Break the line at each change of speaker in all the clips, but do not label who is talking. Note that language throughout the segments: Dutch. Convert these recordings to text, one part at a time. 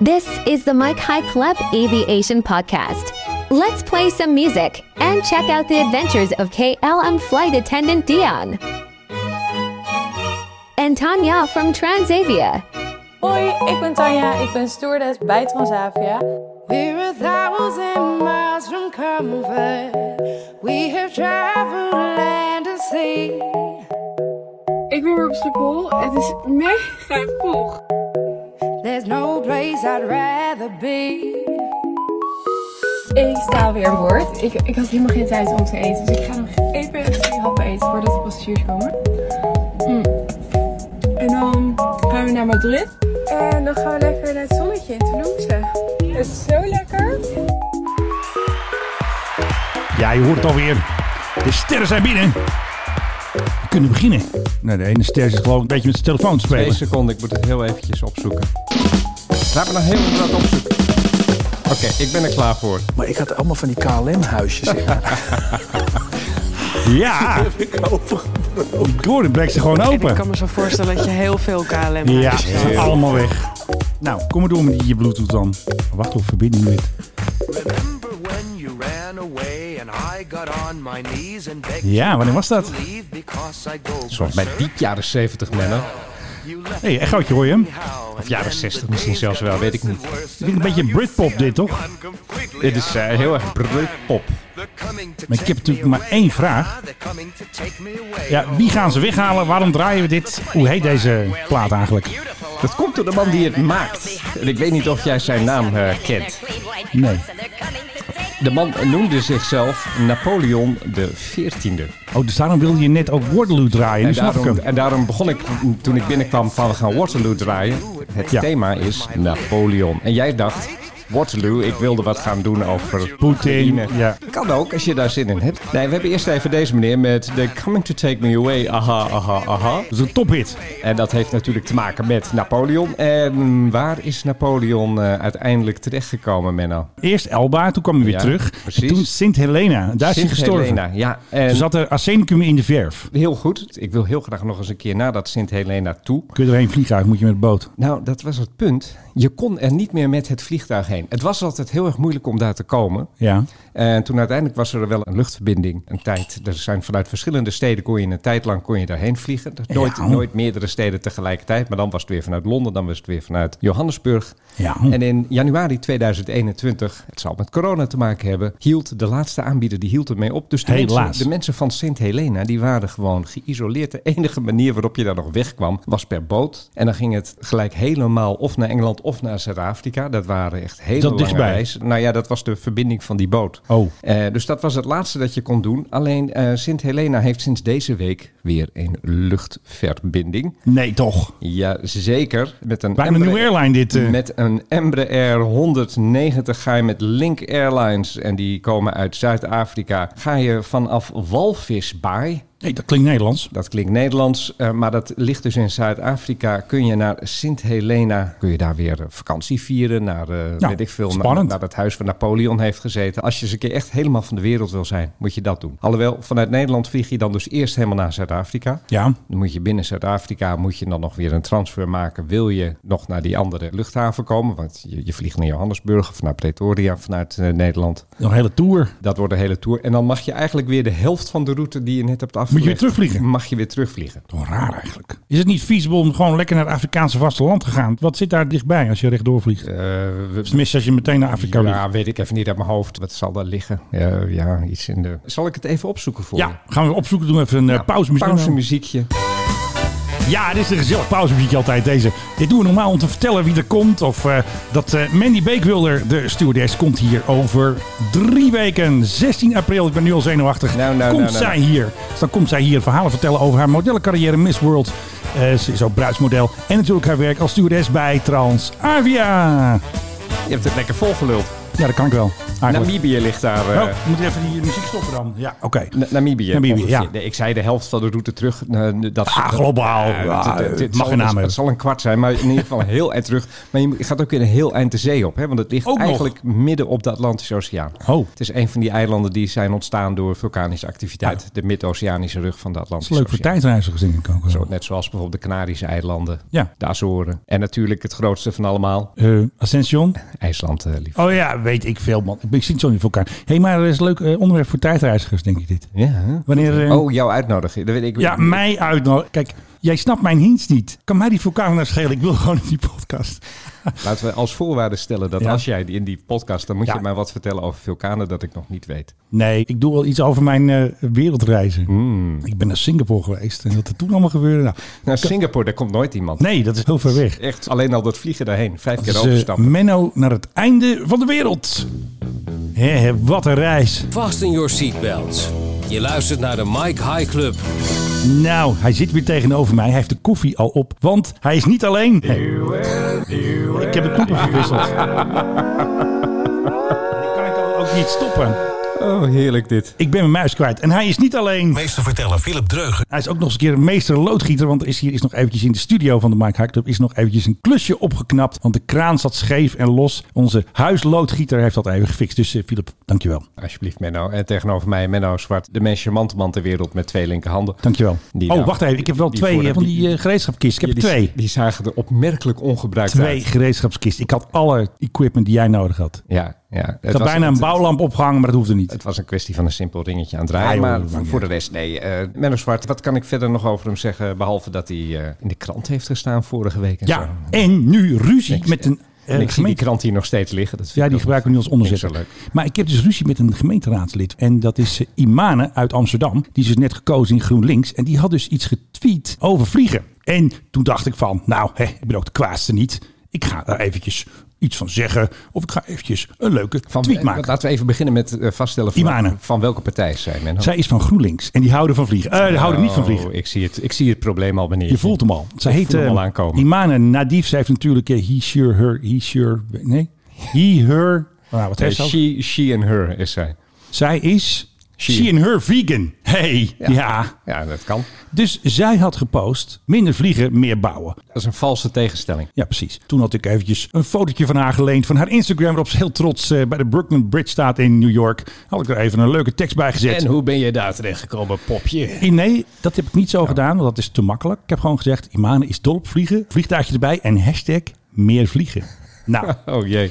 This is the Mike High Club Aviation Podcast. Let's play some music and check out the adventures of KLM flight attendant Dion and Tanya from Transavia.
Hoi, ik ben Tanja, ik ben stewardess bij Transavia.
We're a thousand miles from comfort. We have traveled land and sea.
Ik ben weer op Schiphol. Het is mega vroeg.
There's no place I'd rather be.
Ik sta weer aan boord. Ik, ik had helemaal geen tijd om te eten. Dus ik ga nog even twee happen eten voordat de passagiers komen. Mm. En dan gaan we naar Madrid. En dan gaan we lekker naar het zonnetje in Toulouse. Het is zo lekker.
Ja, je hoort het alweer. De sterren zijn binnen. We kunnen beginnen. Nou, de ene ster zit gewoon een beetje met zijn telefoon te
Twee
spelen.
seconden, ik moet het heel eventjes opzoeken. Laat me nog heel even wat opzoeken. Oké, ik ben er klaar voor.
Maar ik had allemaal van die KLM-huisjes.
Ja, door de bek ze gewoon
En ik
open.
kan me zo voorstellen dat je heel veel KLM
Ja,
hebt.
ze zijn allemaal weg. Nou, kom maar door met die je bluetooth dan. Wacht op verbinding met.
Remember when you ran away and I got on my knees and begged
Ja, wanneer was dat?
to leave because I go
Zoals bij diep jaren 70 mannen.
Hé, hey, echootje hoor je hem?
Of jaren 60 misschien zelfs wel, weet ik niet.
Het is een beetje Britpop dit, toch?
Dit is eh, heel erg Britpop.
Maar ik heb natuurlijk maar één vraag.
Ah,
Ja, wie gaan ze
Oh,
weghalen? Waarom draaien we dit? Hoe heet deze plaat eigenlijk?
Dat komt door de man die het maakt. En ik weet niet of jij zijn naam eh, kent.
Nee.
De man noemde zichzelf Napoleon de 14e.
Oh, dus daarom wilde je net ook Waterloo draaien. Nu
En
snap ik
daarom,
hem.
en daarom begon ik toen ik binnenkwam van we gaan Waterloo draaien. Het
Ja.
thema is Napoleon. En jij dacht, Waterloo, ik wilde wat gaan doen over
Poetin,
Oekraïne.
ja.
Kan ook, als je daar zin in hebt. Nee, we hebben eerst even deze meneer met The Coming to Take Me Away. Aha, aha, aha.
Dat is een tophit.
En dat heeft natuurlijk te maken met Napoleon. En waar is Napoleon eh, uiteindelijk terechtgekomen, Menno?
Eerst Elba, toen kwam hij weer
Ja,
terug.
precies.
En toen Sint Helena. Daar is hij
Sint
gestorven.
Helena, Ja, en
Toen zat er arsenicum in de verf.
heel goed. Ik wil heel graag nog eens een keer naar dat Sint Helena toe.
Kun je erheen vliegen uit, moet je met de boot.
Nou, dat was het punt. Je kon er niet meer met het vliegtuig heen. Het was altijd heel erg moeilijk om daar te komen.
Ja.
En toen uiteindelijk was er wel een luchtverbinding. Een tijd, er zijn vanuit verschillende steden kon je een tijd lang kon je daarheen vliegen. Dat is Nooit,
Ja.
nooit meerdere steden tegelijkertijd. Maar dan was het weer vanuit Londen, dan was het weer vanuit Johannesburg.
Ja.
Hm. En in januari 2021, het zal met corona te maken hebben, hield de laatste aanbieder die hield ermee op. Dus de,
Helaas.
Mensen, de mensen van Sint Helena die waren gewoon geïsoleerd. De enige manier waarop je daar nog wegkwam was per boot. En dan ging het gelijk helemaal of naar Engeland of naar Zuid-Afrika. Dat waren echt hele
Dat
lange
dichtbij.
reizen. Nou ja, dat was de verbinding van die boot.
Oh.
Eh, dus dat was het laatste dat je kon doen. Alleen eh, Sint Helena heeft sinds deze week weer een luchtverbinding.
Nee, toch.
Jazeker. Met een
Bijna een
Embraer-
nieuwe airline dit. eh.
Met een Embraer 190 ga je met Link Airlines en die komen uit Zuid-Afrika. Ga je vanaf Walvisbaai,
Nee, dat klinkt Nederlands.
dat klinkt Nederlands, eh, maar dat ligt dus in Zuid-Afrika. Kun je naar Sint Helena, kun je daar weer eh, vakantie vieren, naar, eh weet ik veel, naar,
spannend.
naar het huis waar Napoleon heeft gezeten. Als je eens een keer echt helemaal van de wereld wil zijn, moet je dat doen. Alhoewel, vanuit Nederland vlieg je dan dus eerst helemaal naar Zuid-Afrika.
Ja.
Dan moet je binnen Zuid-Afrika moet je dan nog weer een transfer maken. Wil je nog naar die andere luchthaven komen? Want je, je vliegt naar Johannesburg of naar Pretoria vanuit eh, Nederland.
Nog een hele tour.
Dat wordt een hele tour. En dan mag je eigenlijk weer de helft van de route die je net hebt afgelegd...
weer terugvliegen?
Mag je weer terugvliegen.
Toch raar eigenlijk. Is het niet feasible om gewoon lekker naar het Afrikaanse vasteland te gaan? Wat zit daar dichtbij als je rechtdoor vliegt?
Eh, we-
Tenminste, als je meteen naar Afrika vliegt.
ja, weet ik even niet uit mijn hoofd. Wat zal daar liggen? Ja, ja, iets in de... Zal ik het even opzoeken voor je?
Ja, gaan we opzoeken. Doen we even een eh, pauzemuziek.
Pauzemuziekje.
Ja, dit is een gezellig pauzemuziekje altijd deze. Dit doen we normaal om te vertellen wie er komt. Of eh, dat eh, Mandy Beekwilder, de stewardess, komt hier over drie weken. 16 april, ik ben nu al zenuwachtig.
Nou, nou,
komt
nou, nou.
zij hier. Dus dan komt zij hier verhalen vertellen over haar modellencarrière Miss World. Eh, ze is ook bruidsmodel. En natuurlijk haar werk als stewardess bij Transavia.
Je hebt het lekker volgeluld.
Ja, dat kan ik wel. eigenlijk.
Namibië ligt daar. eh,
Oh, moet je even die muziek stoppen dan? Ja, oké.
Na- Namibië.
Namibië,
ongeveer.
ja.
Nee, ik zei de helft van de route terug. Nou, dat,
Ah, globaal. Ja, het mag
zal,
geen naam hebben.
Het zal een kwart zijn, maar in ieder geval een heel eind terug. Maar je moet- je gaat ook weer een heel eind de zee op. Hè? Want het ligt
Ook nog.
eigenlijk midden op de Atlantische Oceaan.
Oh.
Het is een van die eilanden die zijn ontstaan door vulkanische activiteit. De mid-oceanische rug van de
Dat
Atlantische
is leuk voor
Oceaan.
tijdreizigers, denk ik ook. wel.
Zo, net zoals bijvoorbeeld de Canarische eilanden,
Ja.
de Azoren. En natuurlijk het grootste van allemaal,
Eh, Ascension.
IJsland, eh, lief.
Oh ja, weet ik veel, man. Ik zie het zo niet voor elkaar. hey, maar er is een leuk eh, onderwerp voor tijdreizigers, denk ik dit.
Ja, hè?
Wanneer... eh,
Oh, jou uitnodigen. Dat weet ik.
Ja, mij uitnodigen. Kijk, jij snapt mijn hints niet. Kan mij die vulkaan naar schelen? Ik wil gewoon in die podcast.
Laten we als voorwaarde stellen dat
Ja.
als jij die- in die podcast, dan moet
Ja.
je mij wat vertellen over vulkanen dat ik nog niet weet.
Nee, ik doe wel iets over mijn eh, wereldreizen. Ik ben naar Singapore geweest en wat er toen allemaal gebeurde. Nou,
Naar Singapore, daar komt nooit iemand.
nee, dat is heel ver weg.
Echt, alleen al dat vliegen daarheen. Vijf
Dat
keer
is eh,
overstappen.
Menno naar het einde van de wereld. Hè, hè, wat een reis.
Vast in your seatbelts. Je luistert naar de Mike High Club.
Nou, hij zit weer tegenover mij. Hij heeft de koffie al op, want hij is niet alleen. Ik heb de koepel verwisseld. Ik kan het al ook niet stoppen.
Oh, heerlijk dit.
Ik ben mijn muis kwijt. En hij is niet alleen.
Meester vertellen, Philip Dreugen.
Hij is ook nog eens een keer een meester loodgieter. Want er is hier is nog eventjes in de studio van de Mike High Club is nog eventjes een klusje opgeknapt. Want de kraan zat scheef en los. Onze huisloodgieter heeft dat even gefixt. Dus eh, Philip, dankjewel.
Alsjeblieft, Menno. En tegenover mij, Menno Zwart, de meest charmante man ter wereld met twee linkerhanden.
Dankjewel.
Die
oh,
nou,
wacht even. Ik heb wel
die
twee
voor-
eh, van die,
die-
eh, gereedschapskisten. Ik heb
Ja,
er
die,
twee.
Die zagen er opmerkelijk ongebruikt
Twee
uit.
gereedschapskisten. Ik had alle equipment die jij nodig had.
Ja, ja.
Ik had
Het was-
bijna een
het-
bouwlamp opgehangen, maar dat hoefde niet.
Het was een kwestie van een simpel ringetje aan het
Ja,
draaien.
joh,
maar
dat maakt
voor de
niet
rest, nee. eh Menno Zwart, wat kan ik verder nog over hem zeggen? Behalve dat hij eh, in de krant heeft gestaan vorige week. En
Ja,
zo.
en nu ruzie
Niks,
met een eh,
En ik zie die
gemeente.
krant hier nog steeds liggen. Dat vind
Ja,
ik
die
ook-
gebruiken we nu als onderzet.
Vind ik zo
Maar ik heb dus ruzie met een gemeenteraadslid. En dat is eh, Imane uit Amsterdam. Die is dus net gekozen in GroenLinks. En die had dus iets getweet over vliegen. En toen dacht ik van, nou, hè, ik ben ook de kwaadste niet. Ik ga daar eventjes iets van zeggen. Of ik ga eventjes een leuke
Van,
tweet
eh,
maken.
Laten we even beginnen met eh, vaststellen
Imane.
van, van welke partij zij men.
Zij is van GroenLinks. En die houden van vliegen.
Oh,
Eh, die houden niet van vliegen.
Ik zie het, ik zie het probleem al, meneer.
Je voelt hem al. Ze
Ik
heet
voel hem
eh,
al aankomen.
Imane Nadif. Zij heeft natuurlijk eh, he, sure, her, he, sure. Nee, he, her. Nou, wat
Eh,
heeft ze? al?
she, she and her is zij.
Zij is
She.
she and her vegan. Hey, ja.
Ja, dat kan.
Dus zij had gepost, minder vliegen, meer bouwen.
Dat is een valse tegenstelling.
Ja, precies. Toen had ik eventjes een fotootje van haar geleend van haar Instagram... waarop ze heel trots eh, bij de Brooklyn Bridge staat in New York. Had ik er even een leuke tekst bij gezet.
En hoe ben je daar terechtgekomen, popje?
Eh, Nee, dat heb ik niet zo gedaan, want dat is te makkelijk. Ik heb gewoon gezegd, Imane is dol op vliegen. Vliegtuigje erbij en hashtag meer vliegen. Nou,
Oh jee.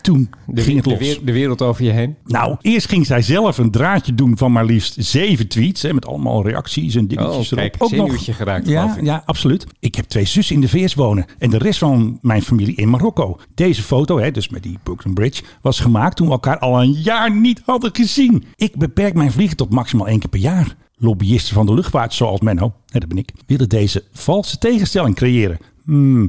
toen
De,
ging het
de
los.
weer- de wereld over je heen.
Nou, eerst ging zij zelf een draadje doen van maar liefst zeven tweets. Hè, met allemaal reacties en dingetjes
Oh,
erop.
kijk, zenuwtje geraakt,
Ja,
geloof ik.
ja, absoluut. Ik heb twee zussen in de VS wonen. En de rest van mijn familie in Marokko. Deze foto, hè, dus met die Brooklyn Bridge, was gemaakt toen we elkaar al een jaar niet hadden gezien. Ik beperk mijn vliegen tot maximaal één keer per jaar. Lobbyisten van de luchtvaart, zoals Menno, hè, dat ben ik, willen deze valse tegenstelling creëren. Hmm, I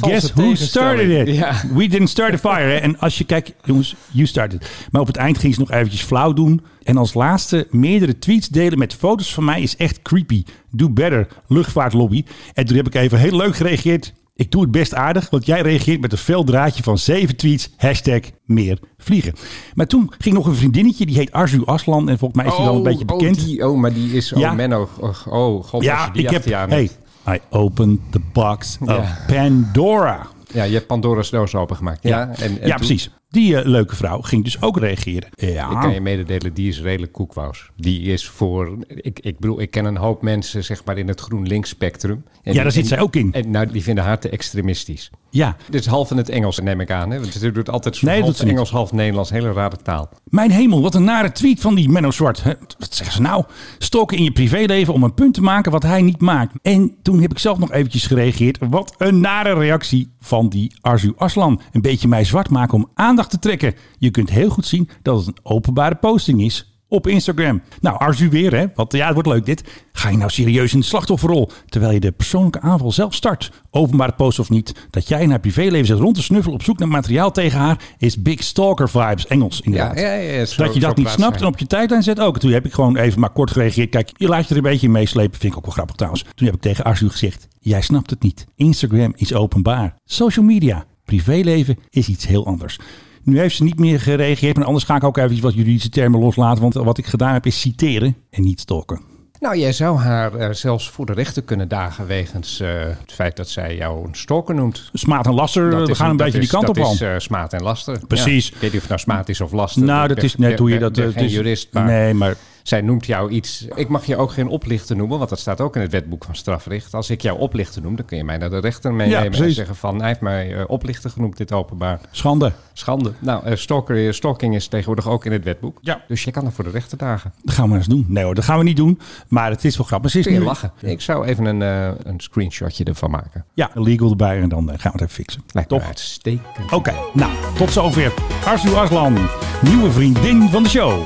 guess who started
tegenstelling.
it?
Ja.
We didn't start the fire. Hè? En als je kijkt, jongens, you started. Maar op het eind ging ze nog eventjes flauw doen. En als laatste, meerdere tweets delen met foto's van mij is echt creepy. Do better, luchtvaartlobby. En toen heb ik even heel leuk gereageerd. Ik doe het best aardig, want jij reageert met een fel draadje van zeven tweets. Hashtag meer vliegen. Maar toen ging nog een vriendinnetje, die heet Arzu Aslan. En volgens mij is die wel een beetje bekend.
Oh, die, oh maar die is... Oh,
Ja.
Menno. Oh, oh, god. als
ja,
je die
ik heb...
achter je aan
Hey,
hebt.
I opened the box of
Ja.
Pandora.
Ja, je hebt Pandora's doos opengemaakt. Ja,
Ja,
en, en
ja
toen-
precies. Die eh, leuke vrouw ging dus ook reageren. Ja.
Ik kan je mededelen, die is redelijk koekwous. Die is voor... Ik, ik bedoel, ik ken een hoop mensen zeg maar in het GroenLinks spectrum. En
Ja,
die-
daar zit
en-
zij ook in.
En, nou, die vinden haar te extremistisch.
ja.
Dit is half in het Engels, neem ik aan. Hè? Want ze doet altijd zo'n
Nee, dat doet
half
ze niet.
Engels, half Nederlands. Hele rare taal.
Mijn hemel, wat een nare tweet van die Menno Zwart. Hè, Wat zeggen ze nou? Stoken in je privéleven om een punt te maken wat hij niet maakt. En toen heb ik zelf nog eventjes gereageerd. Wat een nare reactie van die Arzu Aslan. Een beetje mij zwart maken om aandacht te trekken. Je kunt heel goed zien dat het een openbare posting is. Op Instagram. Nou, Arzu weer, hè? Want ja, het wordt leuk dit. Ga je nou serieus in de slachtofferrol? Terwijl je de persoonlijke aanval zelf start. Openbare post of niet. Dat jij in haar privéleven zit rond te snuffelen op zoek naar materiaal tegen haar. is big stalker vibes. Engels, inderdaad.
Ja, ja, ja, zo-
dat je
zo
dat niet
praat
snapt en
zij.
op je tijdlijn zet ook. Toen heb ik gewoon even maar kort gereageerd. Kijk, je laat je er een beetje in meeslepen. Vind ik ook wel grappig trouwens. Toen heb ik tegen Arzu gezegd, jij snapt het niet. Instagram is openbaar. Social media, privéleven is iets heel anders. Nu heeft ze niet meer gereageerd. Maar anders ga ik ook even wat juridische termen loslaten. Want wat ik gedaan heb is citeren en niet stalken.
Nou, jij zou haar eh, zelfs voor de rechter kunnen dagen wegens eh, het feit dat zij jou een stalker noemt.
Smaat en laster,
Dat
Eh, we
is
gaan een
dat
beetje
is-
die kant op
Dat
man.
is eh, smaad en laster.
Precies.
Ja. Ik weet niet of het nou smaad is of laster.
nou,
Ik
dat
ben-
is net
ben-
hoe je
ben-
dat... eh,
ben
het
geen
is-
jurist, maar
Nee, maar
zij noemt jou iets... Ik mag je ook geen oplichter noemen, want dat staat ook in het wetboek van strafrecht. Als ik jou oplichter noem, dan kun je mij naar de rechter meenemen en
precies.
zeggen van... Hij heeft mij eh, oplichter genoemd, dit openbaar.
schande.
Schande. Nou, eh, stalker, stalking is tegenwoordig ook in het wetboek.
Ja.
Dus je kan er voor de rechter dagen.
Dat gaan we eens doen. Nee hoor, dat gaan we niet doen. Maar het is wel grappig. Ze is
Kun je
nu...
lachen. Ik zou even een, eh, een screenshotje ervan maken.
Ja, legal erbij en dan eh, gaan we het even fixen.
Lijkt me
Toch?
uitstekend.
Oké, nou, tot zover. Arsu Aslan, nieuwe vriendin van de show.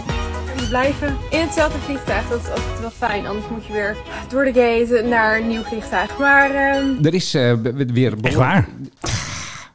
We blijven in hetzelfde vliegtuig. Dat is altijd wel fijn. Anders moet je weer door de gate naar een nieuw vliegtuig. Maar ehm,
Er is eh, be- be- weer...
Echt waar?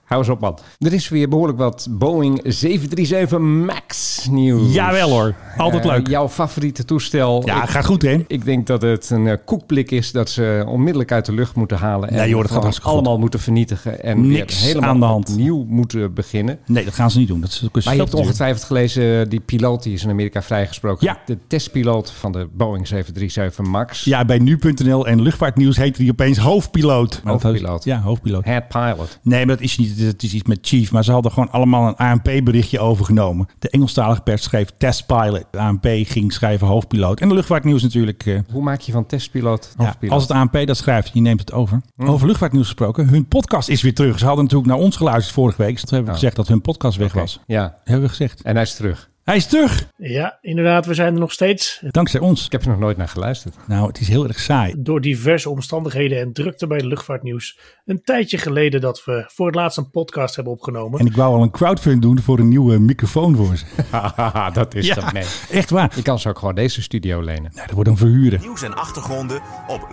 Hou eens op, man. Er is weer behoorlijk wat Boeing 737 MAX nieuws.
Jawel hoor, altijd
Eh,
leuk.
jouw favoriete toestel.
Ja,
ik,
gaat goed hè?
ik denk dat het een eh, koekblik is dat ze onmiddellijk uit de lucht moeten halen. En
Nee, joh, dat gaat
gewoon
hartstikke goed.
allemaal moeten vernietigen. En weer
Niks
helemaal
aan de hand.
opnieuw moeten beginnen.
Nee, dat gaan ze niet doen. Dat is ook een
Maar je hebt
stel natuurlijk.
ongetwijfeld gelezen, eh, die piloot die is in Amerika vrijgesproken.
Ja.
De testpiloot van de Boeing 737 MAX.
Ja, bij nu.nl en Luchtvaartnieuws heet hij opeens hoofdpiloot. Maar dat had-
Hoofdpiloot.
Ja, hoofdpiloot.
Head pilot.
Nee, maar dat is niet. Het is iets met Chief. Maar ze hadden gewoon allemaal een ANP-berichtje overgenomen. De Engelstalige pers schreef testpilot. De ANP ging schrijven hoofdpiloot. En de luchtvaartnieuws natuurlijk. eh,
Hoe maak je van testpiloot
ja,
hoofdpiloot?
als het ANP dat schrijft, je neemt het over. Over luchtvaartnieuws gesproken. Hun podcast is weer terug. Ze hadden natuurlijk naar ons geluisterd vorige week. Dus toen hebben we
Oh.
gezegd dat hun podcast weg
Oké.
was.
Ja,
Hebben we gezegd.
en hij is terug.
Hij is terug!
Ja, inderdaad, we zijn er nog steeds.
Dankzij ons.
Ik heb er nog nooit naar geluisterd.
Nou, het is heel erg saai.
Door diverse omstandigheden en drukte bij het luchtvaartnieuws. Een tijdje geleden dat we voor het laatst een podcast hebben opgenomen.
En ik wou al een crowdfund doen voor een nieuwe microfoon voor ze.
Haha, dat is
Ja.
toch nee.
Echt waar.
Je kan ze ook gewoon deze studio lenen.
Nou, dat wordt dan verhuren.
Nieuws en achtergronden op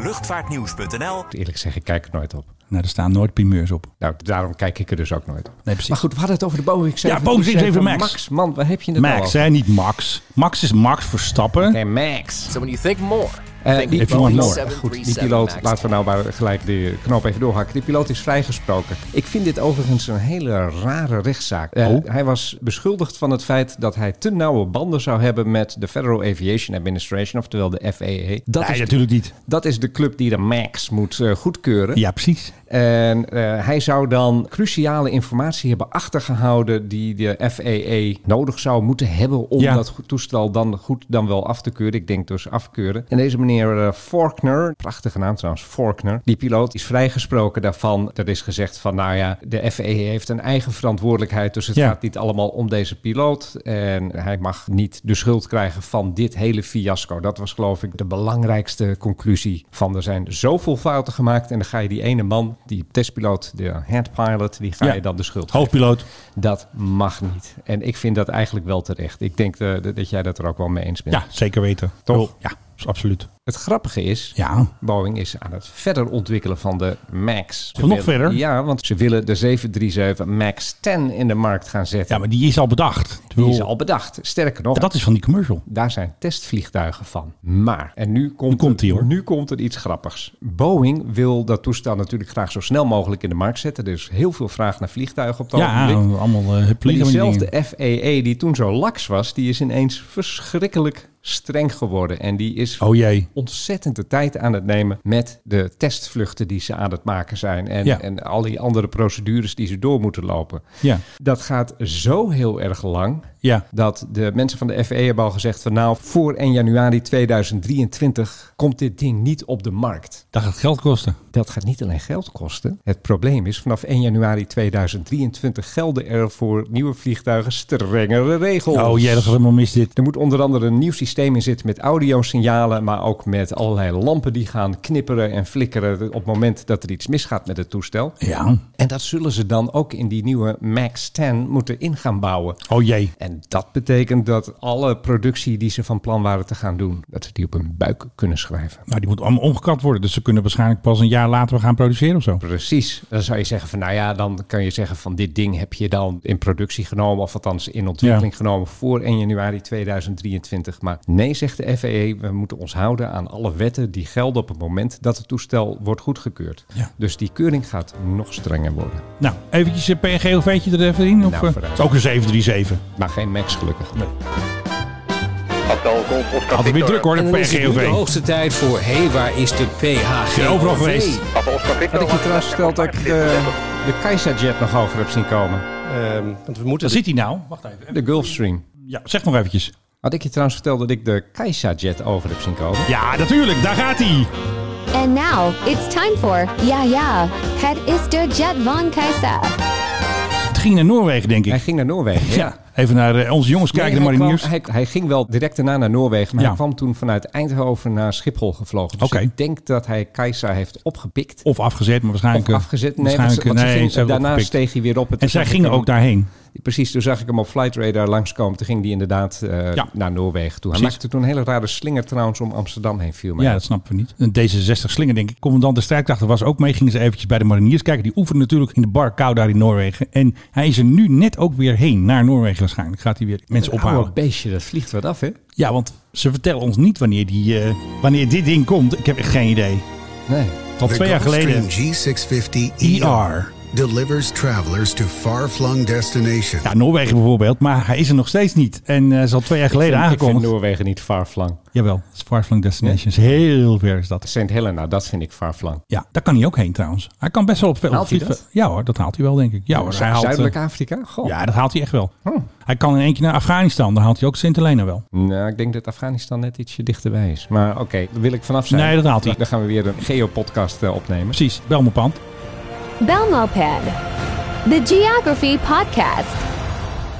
luchtvaartnieuws.nl.
Eerlijk gezegd, ik kijk er nooit op.
Nou, er staan nooit primeurs op.
Nou, daarom kijk ik er dus ook nooit op.
Nee, precies.
Maar goed, we hadden het over de Boeing 737
Boeing 737 Max.
Man, waar heb je het nou
Max,
over?
hè? Niet Max. Max is Max Verstappen.
Nee, Max.
So when you think more,
Eh, die,
If you want
piloot-
more.
Goed, die piloot, laten we nou maar gelijk de knoop even doorhakken. Die piloot is vrijgesproken. Ik vind dit overigens een hele rare rechtszaak. Eh,
Oh.
Hij was beschuldigd van het feit dat hij te nauwe banden zou hebben met de Federal Aviation Administration, oftewel de FAA. Dat,
nee,
is,
natuurlijk niet.
dat is de club die de MAX moet eh, goedkeuren.
Ja, precies.
En eh, hij zou dan cruciale informatie hebben achtergehouden die de FAA nodig zou moeten hebben om
Ja.
dat goed- toestel dan goed dan wel af te keuren. Ik denk dus afkeuren. En deze meneer eh, Faulkner, prachtige naam trouwens, Faulkner, die piloot is vrijgesproken daarvan. Er is gezegd van nou ja, de FAA heeft een eigen verantwoordelijkheid, dus het
Ja.
gaat niet allemaal om deze piloot. En hij mag niet de schuld krijgen van dit hele fiasco. Dat was geloof ik de belangrijkste conclusie van er zijn zoveel fouten gemaakt. En dan ga je die ene man, die testpiloot, de headpilot, die ga
Ja.
je dan de schuld geven.
Hoofdpiloot.
Dat mag niet. En ik vind dat eigenlijk wel terecht. Ik denk eh, dat- dat jij dat er ook wel mee eens bent.
Ja, zeker weten.
Toch?
Oh, Ja, is absoluut.
Het grappige is,
Ja.
Boeing is aan het verder ontwikkelen van de MAX. Ze
Nog
willen-
verder?
Ja, want ze willen de 737 MAX 10 in de markt gaan zetten.
Ja, maar die is al bedacht. Ik
die
bedoel,
is al bedacht. Sterker nog,
Dat is van die commercial.
Daar zijn testvliegtuigen van. Maar, en nu komt,
komt
er,
die, hoor.
nu komt er iets grappigs. Boeing wil dat toestel natuurlijk graag zo snel mogelijk in de markt zetten. Er is heel veel vraag naar vliegtuigen op het
ja,
ogenblik.
allemaal uh,
Maar
plezier.
diezelfde FAA die toen zo laks was, die is ineens verschrikkelijk streng geworden. En die is
Oh jee.
ontzettend de tijd aan het nemen met de testvluchten die ze aan het maken zijn. En,
Ja.
en al die andere procedures die ze door moeten lopen.
Ja,
Dat gaat zo heel erg lang
ja.
dat de mensen van de FE hebben al gezegd van nou, voor 1 januari 2023 komt dit ding niet op de markt.
Dat gaat geld kosten.
Dat gaat niet alleen geld kosten. Het probleem is, vanaf 1 januari 2023 gelden er voor nieuwe vliegtuigen strengere regels.
Oh jee, dat gaat helemaal mis dit.
Er moet onder andere een nieuw systeem in zitten met audiosignalen, maar ook met allerlei lampen die gaan knipperen en flikkeren op het moment dat er iets misgaat met het toestel.
Ja.
En dat zullen ze dan ook in die nieuwe MAX 10 moeten in gaan bouwen.
Oh jee.
En En dat betekent dat alle productie die ze van plan waren te gaan doen, dat ze die op hun buik kunnen schrijven.
Nou, die moet allemaal omgekapt worden. Dus ze kunnen waarschijnlijk pas een jaar later we gaan produceren of zo.
Precies. Dan zou je zeggen van, nou ja, dan kan je zeggen van dit ding heb je dan in productie genomen, of althans in ontwikkeling
Ja.
genomen voor 1 januari 2023. Maar nee, zegt de FAA, we moeten ons houden aan alle wetten die gelden op het moment dat het toestel wordt goedgekeurd.
Ja.
Dus die keuring gaat nog strenger worden.
Nou, eventjes een PNG-OV'tje er even in. Of,
Nou,
eh,
vooruit.
het is ook een 737.
Maar geen max gelukkig.
Altijd weer druk hoor,
En
dat
dan is het nu de
PNG-OV.
hoogste tijd voor... Hé, hey, waar is de PHG?
Ja, overal geweest.
Had ik je trouwens verteld dat ik de, de Kaiserjet nog over heb zien komen?
ehm, want we moeten
Waar zit hij nou? Wacht even.
De Gulfstream.
Ja, zeg nog eventjes.
Had ik je trouwens verteld dat ik de Kaiserjet over heb zien komen?
Ja, natuurlijk, daar gaat hij.
And now it's time for Ja Ja, het is de Jet van Kaiser.
Het ging naar Noorwegen, denk ik.
Hij ging naar Noorwegen. hè?
Ja, even naar eh, onze jongens kijken,
Nee,
de
hij
mariniers.
kwam- Hij, hij ging wel direct daarna naar Noorwegen, maar
Ja.
hij kwam toen vanuit Eindhoven naar Schiphol gevlogen. Dus
Oké.
ik denk dat hij Kaiser heeft opgepikt.
Of afgezet, maar waarschijnlijk...
Of
eh,
afgezet. Nee, want ze-
waarschijnlijk, eh,
want ze
nee,
ging-
ze hebben
daarna
opgepikt.
steeg hij weer op.
En zij
toen zag ik
gingen
hem-
ook daarheen.
Precies, toen zag ik hem op Flight Radar langskomen. Toen ging hij inderdaad eh,
Ja.
naar Noorwegen toe. Hij
Precies.
maakte toen een hele rare slinger trouwens om Amsterdam heen viel. mij
Ja,
op.
dat snappen we niet. Een D66 slinger, denk ik. Commandant de strijdkrachten was ook mee. Gingen ze eventjes bij de mariniers kijken. Die oefenen natuurlijk in de bar kou daar in Noorwegen. En hij is er nu net ook weer heen. Naar Noorwegen waarschijnlijk. Gaat hij weer mensen
Een
ophalen.
oude beestje, dat vliegt wat af, hè?
Ja, want ze vertellen ons niet wanneer, die, eh, wanneer dit ding komt. Ik heb echt geen idee.
Nee.
Tot twee jaar geleden. E
G650
ER.
delivers travelers to far-flung destinations.
Ja, Noorwegen bijvoorbeeld. Maar hij is er nog steeds niet. En eh, is al twee jaar geleden
ik vind
aangekomen.
Noorwegen niet farflang.
Jawel, het is Farflung Destinations. Heel ver is dat.
St. Helena, dat vind ik farflang.
Ja, daar kan hij ook heen trouwens. Hij kan best wel op veel
Haalt hij dat?
Ja hoor, dat haalt hij wel denk ik. Ja hoor, hij haalt, eh,
Zuidelijk Afrika? Goh.
Ja, dat haalt hij echt wel.
Hm.
Hij kan in één keer naar Afghanistan. Dan haalt hij ook Sint Helena wel.
Nou, ik denk dat Afghanistan net ietsje dichterbij is. Maar oké, daar wil ik vanaf zijn.
Nee, dat haalt hij.
Dan gaan we weer een geopodcast eh, opnemen.
Precies, Belmopand.
Belmoped, the Geography Podcast.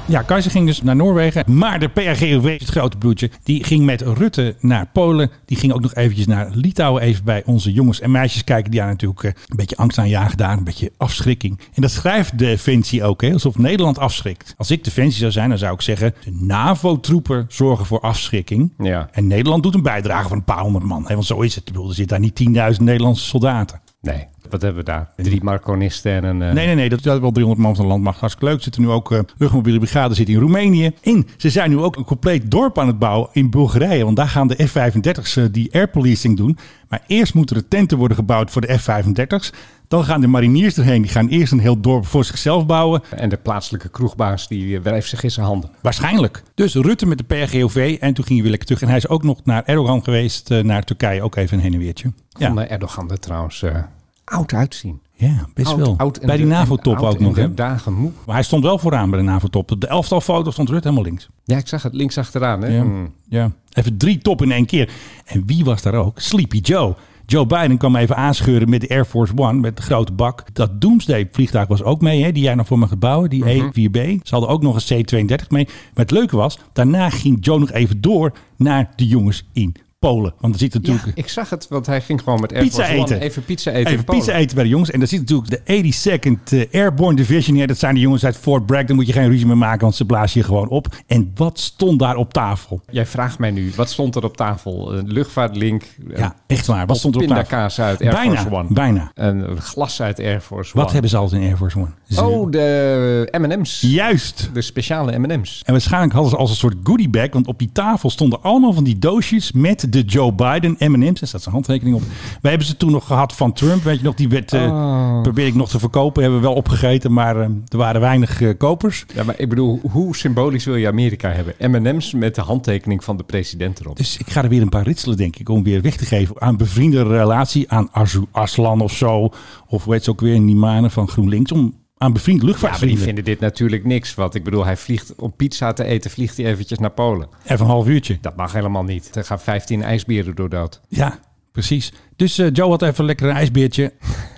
Ja, Kaiser ging dus naar Noorwegen. Maar de PRGOV, het grote bloedje, die ging met Rutte naar Polen. Die ging ook nog eventjes naar Litouwen. Even bij onze jongens en meisjes kijken. Die daar natuurlijk eh, een beetje angst aan jagen daar. Een beetje afschrikking. En dat schrijft Defensie ook. Hè, alsof Nederland afschrikt. Als ik Defensie zou zijn, dan zou ik zeggen... de NAVO-troepen zorgen voor afschrikking.
Ja.
En Nederland doet een bijdrage van een paar honderd man. Hè, want zo is het. Ik bedoel, er zitten daar niet 10.000 Nederlandse soldaten.
Nee, wat hebben we daar? Drie Marconisten en een... eh,
Nee, nee, nee. Dat dat is wel 300 man van de landmacht. Hartstikke leuk. Zitten nu ook eh luchtmobiele brigade zit in Roemenië. En ze zijn nu ook een compleet dorp aan het bouwen in Bulgarije. Want daar gaan de F-35's eh, die air policing doen. Maar eerst moeten er tenten worden gebouwd voor de F-35's. Dan gaan de mariniers erheen. Die gaan eerst een heel dorp voor zichzelf bouwen.
En de plaatselijke kroegbaas, die eh, wrijft zich in zijn handen.
Waarschijnlijk. Dus Rutte met de PRGOV. En toen ging hij weer lekker terug. En hij is ook nog naar Erdogan geweest. eh, naar Turkije. Ook even een heen en weertje.
Van
Ja,
eh, Erdogan er trouwens eh, oud uitzien.
ja best
Oud,
wel.
oud en
bij die
de-
NAVO-top
en oud
ook nog.
en
hè?
de dagen moe.
Maar hij stond wel vooraan bij de NAVO-top. Op de elftal foto stond Rutte helemaal links.
Ja, ik zag het links achteraan. Hè?
Ja.
Mm.
ja. Even drie top in één keer. En wie was daar ook? Sleepy Joe. Joe Biden kwam even aanscheuren met de Air Force One, met de grote bak. Dat Doomsday-vliegtuig was ook mee, hè, die jij nog voor me gaat bouwen, die
Mhm.
E4B. Ze hadden ook nog een C-32 mee. Maar het leuke was, daarna ging Joe nog even door naar de jongens in Polen. Want er zit natuurlijk...
Ik zag het, want hij ging gewoon met Air
Pizza
Force One
eten.
even pizza eten. in
Even
Polen.
pizza eten bij de jongens. En daar zit natuurlijk de 82nd eh, Airborne Division. Ja, dat zijn de jongens uit Fort Bragg. Daar moet je geen ruzie mee maken, want ze blazen je gewoon op. En wat stond daar op tafel?
Jij vraagt mij nu, wat stond er op tafel? Een luchtvaartlink, eh, een
Ja, echt waar. Wat stond er op tafel?
pindakaas uit Air
bijna,
Force One.
Bijna.
Een glas uit Air Force
Wat
One.
hebben ze altijd in Air Force One? Ze-
Oh, de M&M's.
Juist.
De speciale M&M's.
En waarschijnlijk hadden ze als een soort goodie bag, want op die tafel stonden allemaal van die doosjes met de Joe Biden M&M's. Daar staat zijn handtekening op. Wij hebben ze toen nog gehad van Trump, weet je nog? Die werd, eh,
Oh.
probeerde ik nog te verkopen, hebben we wel opgegeten, maar eh, er waren weinig eh, kopers.
Ja, maar ik bedoel, hoe symbolisch wil je Amerika hebben? M&M's met de handtekening van de president erop.
Dus ik ga er weer een paar ritselen, denk ik, om weer weg te geven aan bevriende relatie, aan Arzu Aslan of zo. Of weet ze ook weer, Nimane van GroenLinks, om aan bevriend
ja, maar die
luchtvaartvrienden.
vinden dit natuurlijk niks. Want ik bedoel, hij vliegt om pizza te eten, vliegt hij eventjes naar Polen.
Even een half uurtje.
Dat mag helemaal niet. Er gaan 15 ijsberen door dood.
Ja, precies. Dus eh, Joe had even lekker een ijsbeertje.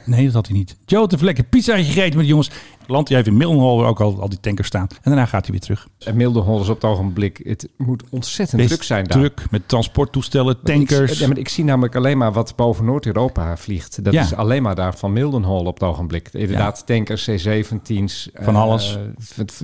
Nee, dat had hij niet. Joe had even lekker pizzaatje gegeten met de jongens. Landt hij even in Mildenhall, waar ook al, al die tankers staan. En daarna gaat hij weer terug.
En Mildenhall is op het ogenblik... Het moet ontzettend
Best
druk zijn daar.
druk met transporttoestellen,
Maar ik-
tankers.
ja, maar ik zie namelijk alleen maar wat boven Noord-Europa vliegt. Dat
Ja.
is alleen maar daar van Mildenhall op het ogenblik. Inderdaad, tankers, C-17's. eh,
Van alles.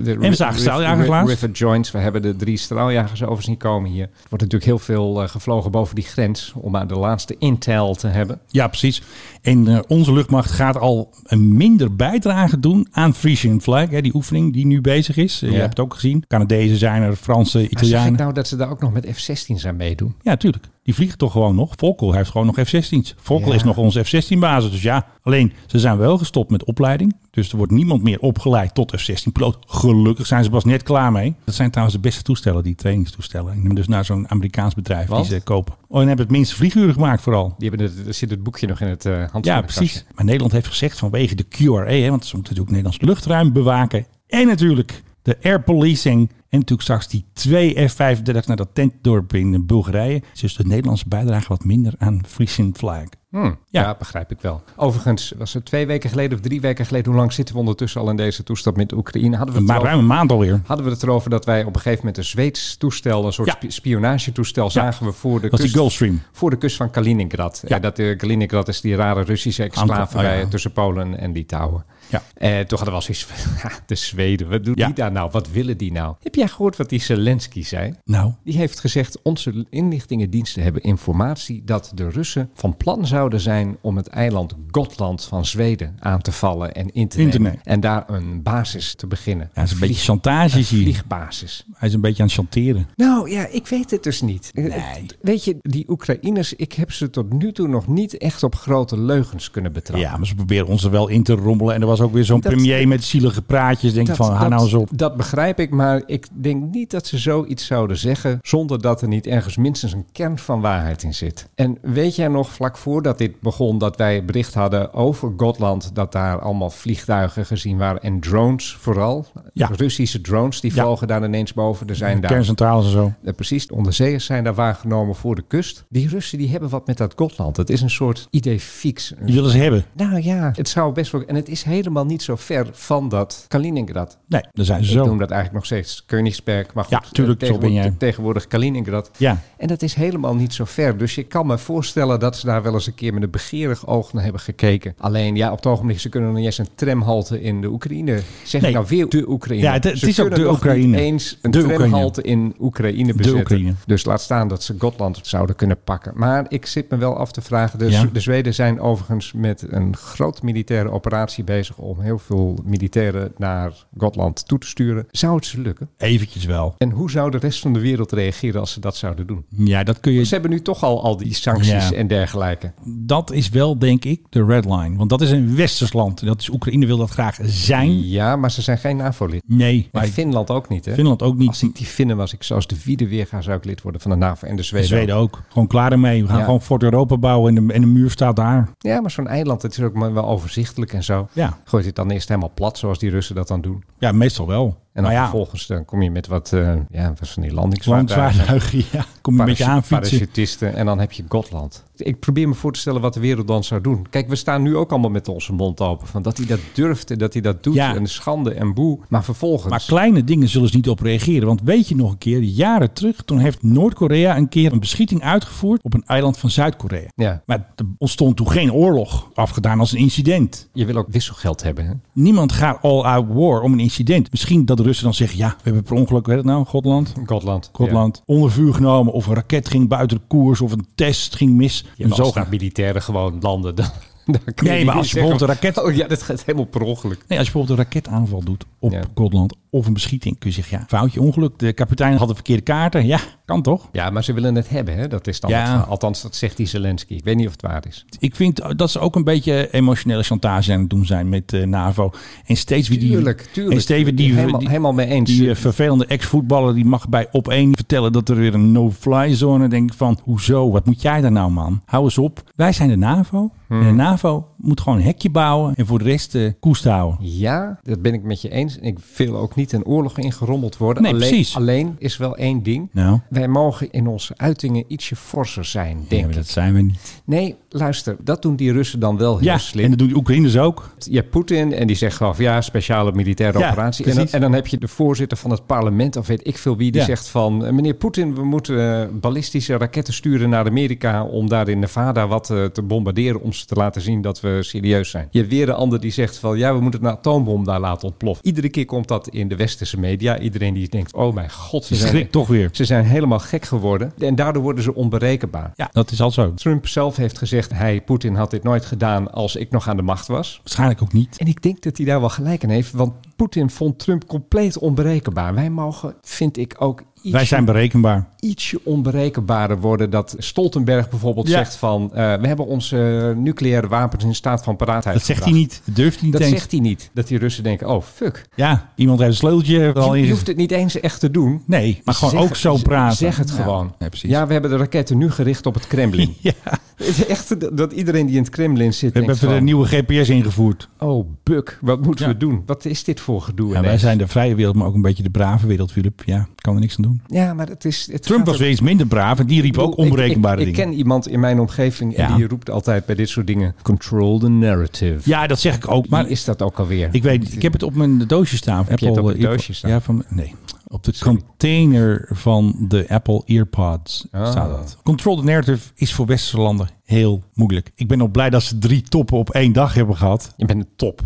en
we zagen straaljagers laatst.
River Joints. We hebben de drie straaljagers over zien komen hier. Er wordt natuurlijk heel veel eh, gevlogen boven die grens... om maar de laatste intel te hebben.
Ja, precies. En eh, onze luchtmacht gaat al een minder bijdrage doen aan Frisian Flag. Hè, die oefening die nu bezig is. Eh, Je
Ja.
hebt het ook gezien. Canadezen zijn er, Fransen,
Maar zeg ik
Italianen.
nou dat ze daar ook nog met F-16's aan meedoen?
Ja, tuurlijk. Die vliegen toch gewoon nog. Volkel heeft gewoon nog F-16's. Volkel
Ja.
is nog onze F-16-basis. Dus ja, alleen ze zijn wel gestopt met opleiding. Dus er wordt niemand meer opgeleid tot F-16-piloot. Gelukkig zijn ze pas net klaar mee. Dat zijn trouwens de beste toestellen, die trainingstoestellen. Ik neem dus naar zo'n Amerikaans bedrijf
Want?
die ze kopen. Oh, en hebben het minste vlieguren gemaakt vooral.
Die hebben het, er zit het boekje nog in het eh
Ja,
handschoenenkastje.
precies. Maar Nederland heeft gezegd vanwege de QRA, hè, want ze moeten natuurlijk Nederlands luchtruim bewaken. En natuurlijk de air policing. En natuurlijk straks die twee F-35 naar dat tentdorp in Bulgarije. Dus de Nederlandse bijdrage wat minder aan Frisian Flag.
Hmm,
Ja.
ja. begrijp ik wel. Overigens, was het twee weken geleden of drie weken geleden... hoe lang zitten we ondertussen al in deze toestand met Oekraïne? Hadden we het
Maar
erover-
ruim een maand alweer.
Hadden we het erover dat wij op een gegeven moment een Zweeds toestel... een soort
Ja.
spi- spionagetoestel zagen we voor de,
Dat is die
kust,
Gulfstream.
voor de kust van Kaliningrad.
Ja.
En dat eh, Kaliningrad is die rare Russische exclave
Anker- oh ja.
bij, tussen Polen en Litouwen.
Ja.
En toen hadden we al zoiets van, "Ja, de Zweden, wat doen
Ja.
die daar nou? Wat willen die nou? Heb jij gehoord wat die Zelensky zei?
Nou,
Die heeft gezegd, onze inlichtingendiensten hebben informatie dat de Russen van plan zouden zijn om het eiland Gotland van Zweden aan te vallen en in te
In
nemen.
te nemen.
En daar een basis te beginnen.
ja, dat is een beetje
Vlieg-
chantage
een
zie je.
vliegbasis.
Hij is een beetje aan het chanteren.
Nou ja, ik weet het dus niet. Het- Weet je, die Oekraïners, ik heb ze tot nu toe nog niet echt op grote leugens kunnen betrappen.
Ja, maar ze proberen ons er wel in te rommelen. En er was ook weer zo'n
Dat-
premier met zielige praatjes. Denk je van, hou nou eens op.
dat begrijp ik, maar ik denk niet dat ze zoiets zouden zeggen zonder dat er niet ergens minstens een kern van waarheid in zit. En weet jij nog, vlak voordat dit begon, dat wij bericht hadden over Gotland, dat daar allemaal vliegtuigen gezien waren en drones vooral.
Ja.
Russische drones, die
Ja.
vlogen daar ineens boven. Er zijn daar
Kerncentrales en zo.
eh, precies, de onderzeeërs zijn daar waargenomen voor de kust. Die Russen die hebben wat met dat Gotland. Het is een soort idee fix.
Die willen ze hebben.
Nou ja, het zou best wel... En het is helemaal niet zo ver van dat Kaliningrad.
Nee, daar zijn ze
Ik
zo.
noem dat eigenlijk nog steeds Königsberg. Maar goed,
Ja, tuurlijk,
eh,
zo ben
tegenwoordig,
jij.
tegenwoordig Kaliningrad.
Ja.
En dat is helemaal niet zo ver. Dus je kan me voorstellen dat ze daar wel eens een keer met een begeerig oog naar hebben gekeken. Alleen ja, op het ogenblik, ze kunnen nog niet eens een tramhalte in de Oekraïne. Zeg
Nee.
ik nou weer de Oekraïne?
Ja, het- het
Ze
is ook de
kunnen nog
Oekraïne.
niet eens een
De
tramhalte in Oekraïne bezetten.
Oekraïne.
Dus laat staan dat ze Gotland zouden kunnen pakken. Maar ik zit me wel af te vragen. De,
Ja.
de Zweden zijn overigens met een groot militaire operatie bezig om heel veel militairen naar Gotland toe te sturen. Zou het ze lukken?
Eventjes wel.
En hoe zou de rest van de wereld reageren als ze dat zouden doen?
Ja, dat kun je...
Ze hebben nu toch al al die sancties
Ja.
en dergelijke.
dat is wel, denk ik, de red line. Want dat is een westers land. En Dat is Oekraïne wil dat graag zijn.
Ja, maar ze zijn geen NAVO-lid.
Nee, maar
En Finland ook niet, hè?
Finland ook niet.
Als ik die Finnen was, ik zou als de vierde weer gaan, zou ik lid worden van de NAVO en de
De
Zweden.
Zweden ook. Gewoon klaar ermee. We gaan
Ja.
gewoon Fort Europa bouwen en de, en de muur staat daar.
Ja, maar zo'n eiland, het is ook maar wel overzichtelijk en zo.
Ja.
Gooit het dan eerst helemaal plat, zoals die Russen dat dan doen.
Ja, meestal wel.
En
maar
dan
Nou ja,
vervolgens dan kom je met wat, eh, ja, wat van die landingsvaartuigen.
landvaartuigen, ja. Kom je een beetje
Parachute-
aanfietsen.
Parachutisten en dan heb je Gotland. Ik probeer me voor te stellen wat de wereld dan zou doen. Kijk, we staan nu ook allemaal met onze mond open. Van dat hij dat durft en dat hij dat doet.
Ja.
En schande en boe. Maar vervolgens...
Maar kleine dingen zullen ze niet op reageren. Want weet je nog een keer, jaren terug, toen heeft Noord-Korea een keer een beschieting uitgevoerd op een eiland van Zuid-Korea.
ja,
Maar er ontstond toen geen oorlog, afgedaan als een incident.
je wil ook wisselgeld hebben. Hè?
Niemand gaat all-out war om een incident. Misschien dat de Russen dan zeggen, ja, we hebben per ongeluk, weet het nou, Gotland.
Gotland.
Gotland onder vuur genomen. Of een raket ging buiten de koers. Of een test ging mis.
Ja.
en
maar
zo
als
gaan.
de militairen gewoon landen, dan, dan kun je
Nee,
niet
maar als je
zeggen-
bijvoorbeeld een raket-
Oh ja, dat gaat helemaal per ongeluk.
Nee, als je bijvoorbeeld een raketaanval doet op
Ja.
Gotland. Of een beschieting. Kun je zeggen, ja, foutje, ongeluk. De kapitein had de verkeerde kaarten. Ja, kan toch?
Ja, maar ze willen het hebben, hè? Dat is dan
Ja.
het verhaal. Althans, dat zegt die Zelensky. Ik weet niet of het waar is.
Ik vind dat ze ook een beetje emotionele chantage aan het doen zijn met eh, NAVO. En steeds weer die...
Tuurlijk, tuurlijk.
En steeds weer die...
Helemaal-
die-
helemaal mee eens.
Die eh, vervelende ex-voetballer die mag bij op één vertellen dat er weer een no-fly zone. Denk ik van, hoezo? Wat moet jij daar nou, man? Hou eens op. Wij zijn de NAVO.
Hmm.
En de NAVO moet gewoon een hekje bouwen en voor de rest eh koest houden.
Ja, dat ben ik met je eens. En Ik wil ook niet een oorlog ingerommeld worden.
Nee,
alleen,
precies.
alleen is wel één ding.
Nou,
Wij mogen in onze uitingen ietsje forser zijn, denk
ja, maar
ik.
dat zijn we niet.
Nee, Luister, dat doen die Russen dan wel heel
Ja,
slim.
en dat doen die Oekraïners ook.
Je hebt Poetin en die zegt gewoon van ja, speciale militaire
Ja,
operatie. En dan,
precies.
en dan heb je de voorzitter van het parlement, of weet ik veel wie, die
Ja.
zegt van... eh, Meneer Poetin, we moeten eh, ballistische raketten sturen naar Amerika... om daar in Nevada wat eh, te bombarderen, om ze te laten zien dat we serieus zijn. Je hebt weer een ander die zegt van ja, we moeten een atoombom daar laten ontploffen. Iedere keer komt dat in de westerse media. Iedereen die denkt, oh mijn god, ze
Je
zijn,
schrikt toch weer.
ze zijn helemaal gek geworden. En daardoor worden ze onberekenbaar.
Ja, dat is al zo.
Trump zelf heeft gezegd, hij, Poetin, had dit nooit gedaan als ik nog aan de macht was.
Waarschijnlijk ook niet.
En ik denk dat hij daar wel gelijk in heeft, want Poetin vond Trump compleet onberekenbaar. Wij mogen, vind ik ook, ietsje,
Wij zijn berekenbaar.
ietsje onberekenbaarder worden. Dat Stoltenberg bijvoorbeeld
Ja.
zegt van, eh, we hebben onze eh, nucleaire wapens in staat van paraatheid
Dat zegt hij
gebracht.
niet. Dat durft hij niet
Dat
eens.
zegt hij niet. Dat die Russen denken, oh fuck.
Ja, iemand heeft een sleuteltje er al
Je, je
in.
hoeft het niet eens echt te doen.
Nee, maar gewoon
Zeg
ook
het-
zo
z-
praten.
Zeg het
Ja,
gewoon.
nee, precies.
Ja, we hebben de raketten nu gericht op het Kremlin.
Ja,
Het is echt dat- dat iedereen die in het Kremlin zit
we hebben
denkt
even
van,
de nieuwe GPS ingevoerd.
oh buk, wat moeten
Ja.
we doen? Wat is dit voor gedoe?
Ja, wij
ineens?
zijn de vrije wereld, maar ook een beetje de brave wereld, Philip. Ja, kan er niks aan doen.
Ja, maar het is... Het
Trump
gaat
was
ook-
weer iets minder braaf en die riep ook
bedoel, ik-
onberekenbare
ik, ik,
dingen.
ken iemand in mijn omgeving
Ja.
en die roept altijd bij dit soort dingen... Control the narrative.
Ja, dat zeg ik ook. Maar
Wie is dat ook alweer?
ik weet, niet. ik heb het op mijn doosje staan.
Heb je het op
Apple,
een
eh,
doosje staan?
Ja, van, nee. Op de container van de Apple EarPods
Ah.
staat dat. Control the narrative is voor westerse landen heel moeilijk. Ik ben ook blij dat ze drie toppen op één dag hebben gehad.
Je bent een top.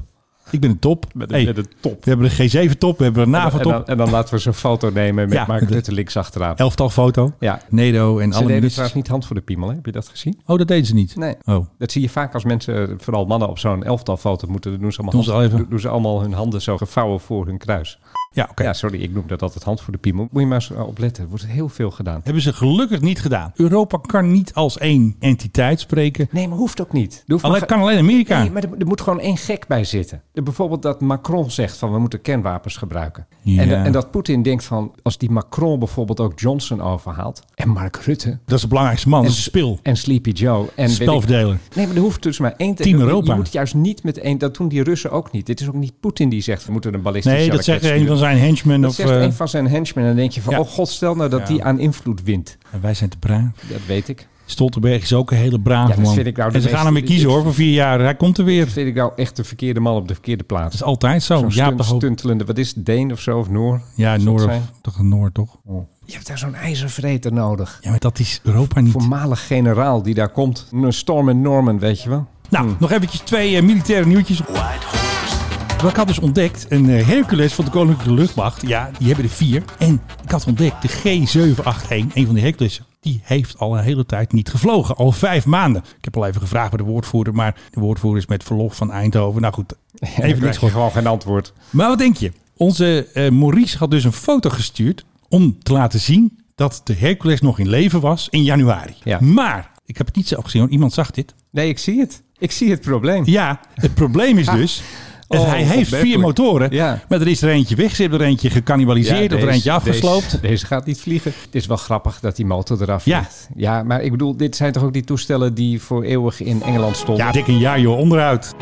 Ik ben een top.
Met
Hey,
een, met een top.
we hebben de G7 top, we hebben een
en,
NAVO-top.
dan, en dan laten we zo'n foto nemen met
Ja.
Mark Rutte links achteraan.
Elftal foto.
Ja.
NEDO en alle
Ze deden
ministers.
trouwens niet hand voor de piemel, hè? heb je dat gezien?
Oh, dat deden ze niet?
Nee.
Oh.
Dat zie je vaak als mensen, vooral mannen, op zo'n elftal foto moeten. Dan doen ze allemaal,
Doen ze al even.
doen- doen ze allemaal hun handen zo gevouwen voor hun kruis.
Ja, oké.
Ja, sorry, ik noem dat altijd hand voor de piemel. Moet je maar eens eh, op letten. Er wordt heel veel gedaan.
Hebben ze gelukkig niet gedaan. Europa kan niet als één entiteit spreken.
Nee, maar hoeft ook niet. Er hoeft
Alleen
maar-
kan alleen Amerika.
Nee, maar er, er moet gewoon één gek bij zitten. Er Bijvoorbeeld dat Macron zegt van we moeten kernwapens gebruiken.
Ja.
En, en dat Poetin denkt van als die Macron bijvoorbeeld ook Johnson overhaalt. En Mark Rutte.
Dat is de belangrijkste man.
En,
dat is een spil.
En Sleepy Joe. En weet ik-
Spelverdeler.
Nee, maar er hoeft dus maar één te...
Team
je- Je
Europa.
moet juist niet met één... Dat doen die Russen ook niet. Dit is ook niet Poetin die zegt... We moeten een ballistische
Nee, dat
raket
zegt een
sturen.
van zijn henchmen.
Dat
Of,
zegt
eh,
een van zijn henchmen. En dan denk je van...
Ja.
Oh god, stel nou dat
Ja.
die aan invloed wint.
en wij zijn te braaf.
Dat weet ik.
Stoltenberg is ook een hele braaf
Ja, dat
man.
vind ik nou de
en ze
meest-
gaan hem weer kiezen hoor, voor vier jaar. Hij komt er weer.
Dat vind ik nou echt de verkeerde man op de verkeerde
Dat
plaats.
is altijd zo.
Zo'n
ja,
stunt-
toch ook-
stuntelende... Wat is het? Deen of zo? Of Noor?
ja
Zou het
Noord,
zijn?
of- toch een Noord toch?
Je hebt daar zo'n ijzervreter nodig.
Ja, maar dat is Europa niet.
Voormalig generaal die daar komt. Een Storm en Norman, weet je wel.
Nou, nog eventjes twee eh, militaire nieuwtjes. Wat ik had dus ontdekt, een eh, Hercules van de Koninklijke Luchtmacht. Ja, die hebben er vier. En ik had ontdekt, de G781, een van die Herculesen, die heeft al een hele tijd niet gevlogen. Al vijf maanden. Ik heb al even gevraagd bij de woordvoerder, maar de woordvoerder is met verlof van Eindhoven. Nou goed, even niks gehoord.
gewoon geen antwoord.
Maar wat denk je? Onze eh, Maurice had dus een foto gestuurd om te laten zien dat de Hercules nog in leven was in januari.
Ja.
Maar, ik heb het niet zelf gezien, want iemand zag dit.
Nee, ik zie het. Ik zie het probleem.
Ja, het probleem is dus. dat
Oh,
hij heeft vier
opmerkelijk.
motoren,
Ja.
maar er is er eentje weg, ze hebben er eentje
Ja,
gecannibaliseerd of er
deze-
eentje afgesloopt.
Deze, deze gaat niet vliegen. Het is wel grappig dat die motor eraf
Ja.
vliegt. Ja, maar ik bedoel, dit zijn toch ook die toestellen die voor eeuwig in Engeland stonden?
Ja, dik een jaar joh, onderuit.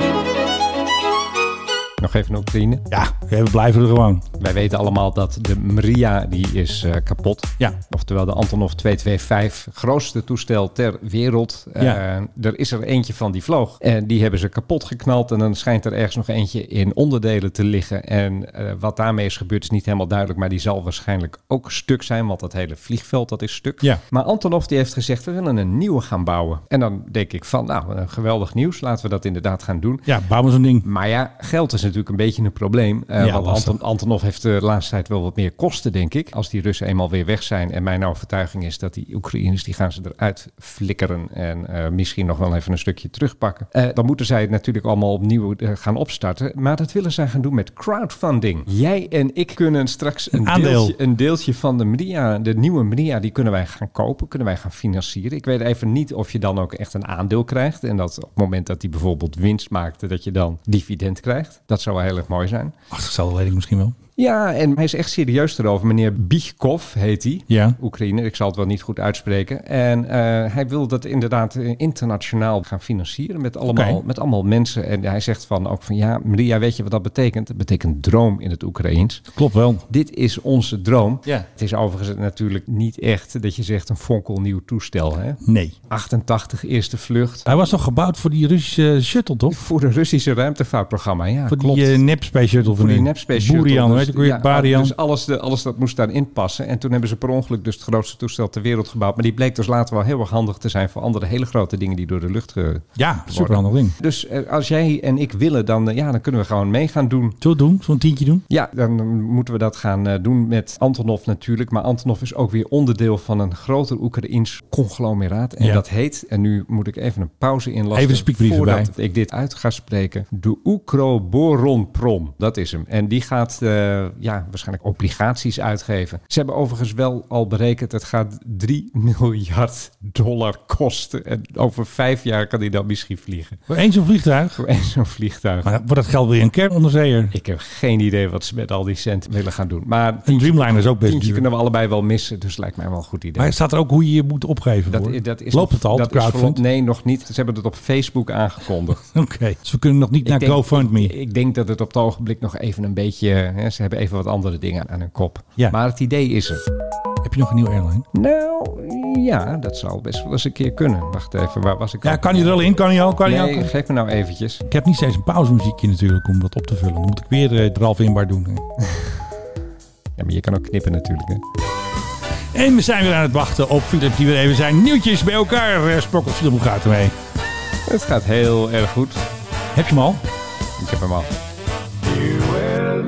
Nog even naar Oekraïne.
Ja, we blijven er gewoon.
Wij weten allemaal dat de Maria, die is eh, kapot.
Ja.
Oftewel de Antonov 225, grootste toestel ter wereld.
Ja.
Eh, er is er eentje van die vloog. En die hebben ze kapot geknald. En dan schijnt er ergens nog eentje in onderdelen te liggen. En eh, wat daarmee is gebeurd is niet helemaal duidelijk. Maar die zal waarschijnlijk ook stuk zijn. Want dat hele vliegveld dat is stuk.
Ja.
Maar Antonov die heeft gezegd, we willen een nieuwe gaan bouwen. En dan denk ik van, nou, eh, geweldig nieuws. Laten we dat inderdaad gaan doen.
Ja, bouwen zo'n ding.
Maar ja, geld is natuurlijk een beetje een probleem. Eh,
Ja,
want
lastig.
Anton, Antonov heeft de laatste tijd wel wat meer kosten, denk ik. Als die Russen eenmaal weer weg zijn. En mijn overtuiging is dat die Oekraïners, die gaan ze eruit flikkeren. En eh, misschien nog wel even een stukje terugpakken. Eh, dan moeten zij het natuurlijk allemaal opnieuw eh, gaan opstarten. Maar dat willen zij gaan doen met crowdfunding. Jij en ik kunnen straks een,
aandeel.
deeltje, een deeltje van de Maria, de nieuwe Maria, die kunnen wij gaan kopen. Kunnen wij gaan financieren. Ik weet even niet of je dan ook echt een aandeel krijgt. En dat op het moment dat die bijvoorbeeld winst maakte, dat je dan dividend krijgt. Dat zou wel heel erg mooi zijn.
Achtergestelde leiding misschien wel.
Ja, en hij is echt serieus erover. Meneer Bichkov heet hij.
Ja.
Oekraïne, ik zal het wel niet goed uitspreken. En eh, hij wil dat inderdaad eh, internationaal gaan financieren met allemaal,
Oké.
met allemaal mensen. En hij zegt van ook van ja, Maria, weet je wat dat betekent? Dat betekent droom in het Oekraïens.
Klopt wel.
Dit is onze droom.
Ja.
Het is overigens natuurlijk niet echt dat je zegt een fonkelnieuw toestel. Hè?
Nee.
88 eerste vlucht.
Hij was toch gebouwd voor die Russische shuttle, toch?
Voor de Russische ruimtevaartprogramma, ja.
voor
klopt.
die eh, nep-space shuttle van
Voor die
hun.
nepspace shuttle.
Boerian,
Dus-
weet je ook weer,
ja,
Barian.
Dus alles, de, alles dat moest daarin passen. En toen hebben ze per ongeluk dus het grootste toestel ter wereld gebouwd. Maar die bleek dus later wel heel erg handig te zijn voor andere hele grote dingen die door de lucht ge...
ja, superhandig ding.
Dus eh, als jij en ik willen, dan, eh, ja, dan kunnen we gewoon mee gaan doen.
Zullen we het doen? Zo'n tientje doen?
Ja, dan eh, moeten we dat gaan eh, doen met Antonov natuurlijk. Maar Antonov is ook weer onderdeel van een groter Oekraïns conglomeraat. En
Ja.
dat heet, en nu moet ik even een pauze inlassen.
Even de spiekbrief
voordat
erbij.
ik dit uit ga spreken. De Oekroboronprom, dat is hem. En die gaat eh, ja, waarschijnlijk obligaties uitgeven. Ze hebben overigens wel al berekend, het gaat 3 miljard dollar kosten. En over vijf jaar kan die dan misschien vliegen.
Voor één zo'n vliegtuig.
Voor één zo'n vliegtuig.
Maar dan wordt dat geld weer een kernonderzeeër.
Ik heb geen idee wat ze met al die cent willen gaan doen. Maar
Een Dreamliner is ook best
tientje
duur.
kunnen we allebei wel missen, dus lijkt mij wel een goed idee.
Maar staat er ook hoe je je moet opgeven voor?
dat is
Loopt
nog-
het al,
dat
dat
is
crowdfund?
voor- Nee, nog niet. Ze hebben het op Facebook aangekondigd.
Oké, dus we kunnen nog niet naar
denk-
GoFundMe.
Ik denk dat het op het ogenblik nog even een beetje... Hè, ze hebben even wat andere dingen aan hun kop.
Ja.
Maar het idee is er.
Heb je nog een nieuwe airline?
Nou, ja, dat zou best wel eens een keer kunnen. Wacht even, waar was ik
Ja,
al?
kan hij er al in? Kan hij al? Kan hij al?
Nee, geef me nou eventjes.
Ik heb niet steeds een pauzemuziekje natuurlijk om wat op te vullen. Dan moet ik weer eh, Ralf Inbar doen. hè.
Ja, maar je kan ook knippen natuurlijk. Hè.
En we zijn weer aan het wachten op Philip die weer even zijn nieuwtjes bij elkaar eh, sprokkelt. Philip, hoe gaat het ermee?
Het gaat heel erg goed.
Heb je hem al?
Ik heb hem al.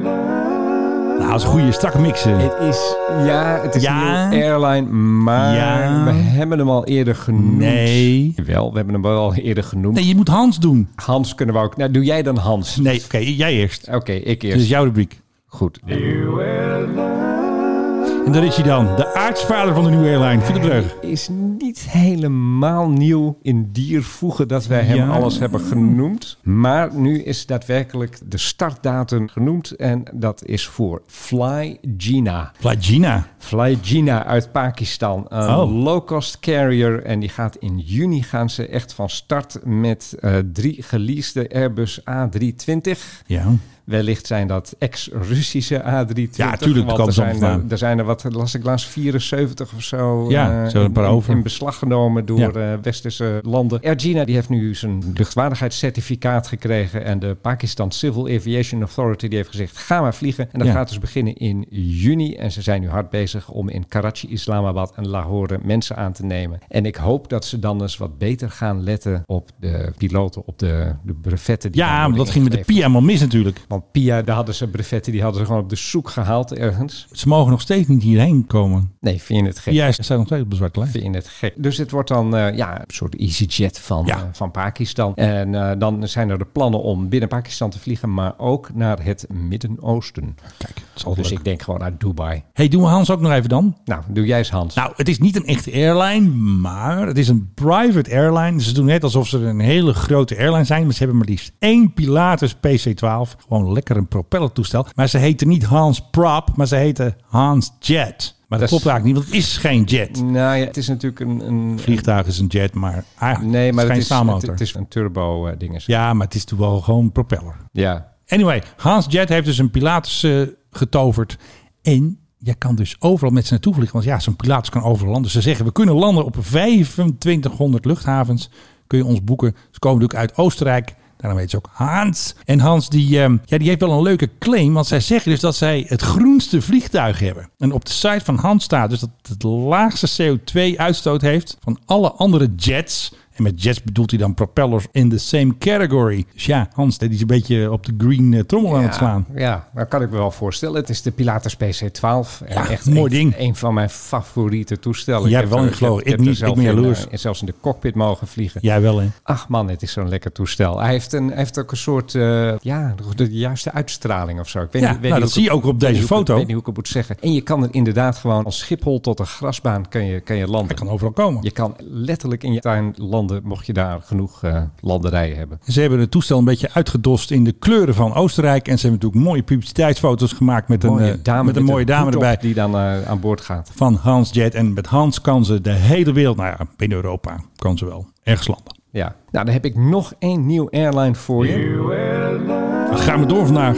Nou, dat is een goede, strakke eh. mixen.
Het is, ja, het is
Ja.
een nieuwe airline, maar
Ja.
we hebben hem al eerder genoemd.
Nee.
Wel, we hebben hem al eerder genoemd.
Nee, je moet Hans doen.
Hans kunnen we ook. Nou, doe jij dan Hans?
Nee, Dus- oké, jij eerst.
Oké, ik
Dit is
eerst.
jouw rubriek.
Goed.
En daar is hij dan. De aartsvader van de nieuwe airline, Philip Dreug.
Is niet helemaal nieuw in dier voegen dat wij hem
Ja.
alles hebben genoemd. Maar nu is daadwerkelijk de startdatum genoemd. En dat is voor Fly Gina.
Plagina.
Flyjina uit Pakistan. Een
Oh.
low-cost carrier. En die gaat in juni gaan ze echt van start met eh, drie geleasede Airbus A320.
Ja.
Wellicht zijn dat ex-Russische A320.
Ja, tuurlijk,
want
komen
er
ze
zijn
vandaan.
er, er zijn er wat, las ik laatst, 74 of zo.
Ja,
eh,
zo een paar
in,
over.
In beslag genomen door
Ja.
eh, westerse landen. Air China die heeft nu zijn luchtwaardigheidscertificaat gekregen. En de Pakistan Civil Aviation Authority die heeft gezegd, ga maar vliegen. En dat
Ja.
gaat dus beginnen in juni. En ze zijn nu hard bezig om in Karachi, Islamabad en Lahore mensen aan te nemen. En ik hoop dat ze dan eens wat beter gaan letten op de piloten, op de, de brevetten. Die
Ja,
gaan
maar
worden
dat ging met de
ingeleverd.
Pia helemaal mis natuurlijk.
Want Pia, daar hadden ze brevetten, die hadden ze gewoon op de zoek gehaald ergens.
Ze mogen nog steeds niet hierheen komen.
Nee, vind je het gek?
Pia staat nog steeds op de zwarte lijst.
Vind je het gek? Dus het wordt dan eh, ja, een soort EasyJet van,
Ja.
eh, van Pakistan. En eh, dan zijn er de plannen om binnen Pakistan te vliegen, maar ook naar het Midden-Oosten.
Kijk, dat is altijd
Dus
leuk.
ik denk gewoon naar Dubai.
hey, doen we Hans ook nog even dan?
Nou, doe jij eens Hans.
Nou, het is niet een echte airline, maar het is een private airline. Ze doen net alsof ze een hele grote airline zijn, maar ze hebben maar liefst één Pilatus PC-12. Gewoon lekker een propellertoestel. Maar ze heten niet Hans Prop, maar ze heten Hans Jet. Maar dat,
Dat is-
klopt eigenlijk niet, want het is geen jet.
Nou ja, het is natuurlijk een... een
Vliegtuig is een jet, maar eigenlijk
nee, maar
het
het
is geen
is, het,
staalmotor.
het is een turbo eh, dinges.
Ja, maar het is natuurlijk wel gewoon een propeller.
ja.
Anyway, Hans Jet heeft dus een Pilatus eh, getoverd. En je kan dus overal met ze naartoe vliegen. Want ja, zo'n Pilatus kan overal landen. Ze zeggen, we kunnen landen op 2500 luchthavens. Kun je ons boeken. Ze komen natuurlijk uit Oostenrijk. Daarom heet ze ook Hans. En Hans die, ehm, ja, die heeft wel een leuke claim. Want zij zeggen dus dat zij het groenste vliegtuig hebben. En op de site van Hans staat dus dat het het laagste CO2-uitstoot heeft van alle andere jets. En met jets bedoelt hij dan propellers in the same category. Dus ja, Hans, die is een beetje op de green eh, trommel aan het slaan.
Ja, dat kan ik me wel voorstellen. Het is de Pilatus PC-12. En
Ja, mooi
een,
ding.
Een van mijn favoriete
Jij
toestellen. Ik
hebt wel
er-
ingevlogen. Ik
heb er
niet. Ik
zelf
ben
in,
jaloers.
eh, en zelfs in de cockpit mogen vliegen.
Jij wel, hè?
Ach man, het is zo'n lekker toestel. Hij heeft, een, hij heeft ook een soort, eh, ja, de, de juiste uitstraling of zo. Ik weet
Ja,
niet, weet
nou,
niet
dat zie je
hoe ik-
ook op
weet
deze
niet hoe ik-
foto.
Ik weet niet hoe ik het moet zeggen. En je kan er inderdaad gewoon van Schiphol tot een grasbaan kan je, kan je landen.
Hij kan overal komen.
Je kan letterlijk in je tuin landen. landen, mocht je daar genoeg eh, landerijen hebben.
Ze hebben het toestel een beetje uitgedost in de kleuren van Oostenrijk. En ze hebben natuurlijk mooie publiciteitsfoto's gemaakt met een,
Mooie
eh,
dame
met een
met
mooie
een
dame
hoed op
erbij.
die dan eh, aan boord gaat.
Van Hans Jet. En met Hans kan ze de hele wereld, nou ja, binnen Europa kan ze wel. Ergens landen.
Ja, nou dan heb ik nog één nieuw airline voor je.
Dan gaan we door vandaag.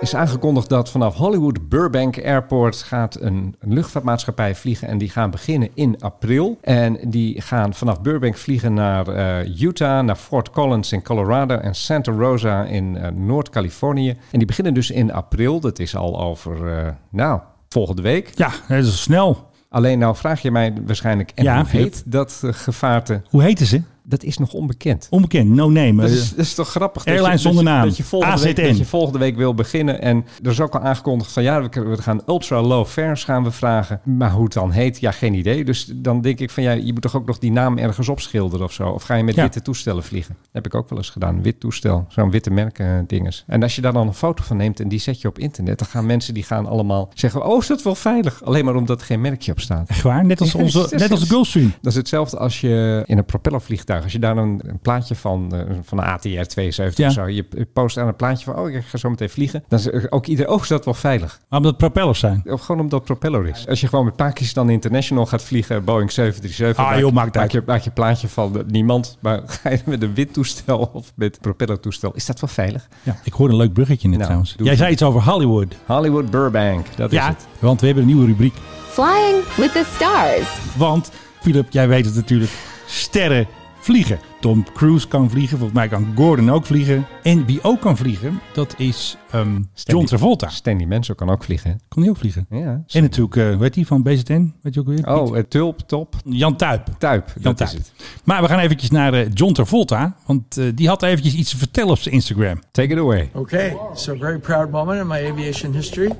is aangekondigd dat vanaf Hollywood Burbank Airport gaat een luchtvaartmaatschappij vliegen. En die gaan beginnen in april. En die gaan vanaf Burbank vliegen naar eh, Utah, naar Fort Collins in Colorado en Santa Rosa in eh, Noord-Californië. En die beginnen dus in april. Dat is al over, eh, nou, volgende week.
Ja, dat is snel.
Alleen nou vraag je mij waarschijnlijk, en
Ja,
hoe
Filip.
heet dat eh, gevaarte?
Hoe heten ze?
Dat is nog onbekend.
Onbekend, no name.
Dat
Eh,
is, dat is toch grappig. dat
Airline
je- dat
zonder
je-
naam.
Dat je, volgende week,
AZN.
dat je volgende week wil beginnen. En er is ook al aangekondigd van ja, we we gaan ultra low fares gaan we vragen. Maar hoe het dan heet, ja, geen idee. Dus dan denk ik van ja, je moet toch ook nog die naam ergens opschilderen of zo. Of ga je met
Ja.
witte toestellen vliegen? Dat heb ik ook wel eens gedaan. Wit toestel. Zo'n witte merken dinges. En als je daar dan een foto van neemt en die zet je op internet, dan gaan mensen die gaan allemaal zeggen, oh, is dat wel veilig? Alleen maar omdat er geen merkje op staat.
Echt waar? Net als, onze, net als Gulfstream.
Dat is hetzelfde als je in een propellervliegtuig, als je daar een, een plaatje van, eh, van een ATR 72
Ja.
of zo, je post aan een plaatje van, oh, ik ga zo meteen vliegen. Dan is er ook ieder oog is dat wel veilig.
Maar omdat het propellers zijn.
Of gewoon omdat het propeller is. Als je gewoon met Pakistan International gaat vliegen, Boeing 737,
Ah,
maak-
joh, maakt
maak
uit.
je, maak je plaatje van eh, niemand, maar ga je met een windtoestel of met een propellertoestel, is dat wel veilig?
Ja, ik hoorde een leuk bruggetje net
Nou,
trouwens.
doe
Jij
het.
zei iets over Hollywood.
Hollywood Burbank, dat is
Ja,
het.
want we hebben een nieuwe rubriek.
Flying with the stars.
Want, Philip, jij weet het natuurlijk, sterren vliegen. Tom Cruise kan vliegen, volgens mij kan Gordon ook vliegen. En wie ook kan vliegen, dat is ehm, John Travolta.
Stanley Menzo kan ook vliegen.
Kon hij ook vliegen?
hè? Ja.
En natuurlijk, eh weet hij van BZN? Weet je ook weer?
Oh, eh, Tulp, Top,
Jan Tuip.
Tuip,
Jan
dat
Tuip.
is het.
Maar we gaan eventjes naar eh, John Travolta, want eh, die had eventjes iets te vertellen op zijn Instagram.
Take it away.
Oh.
Okay, so very proud moment in my aviation history.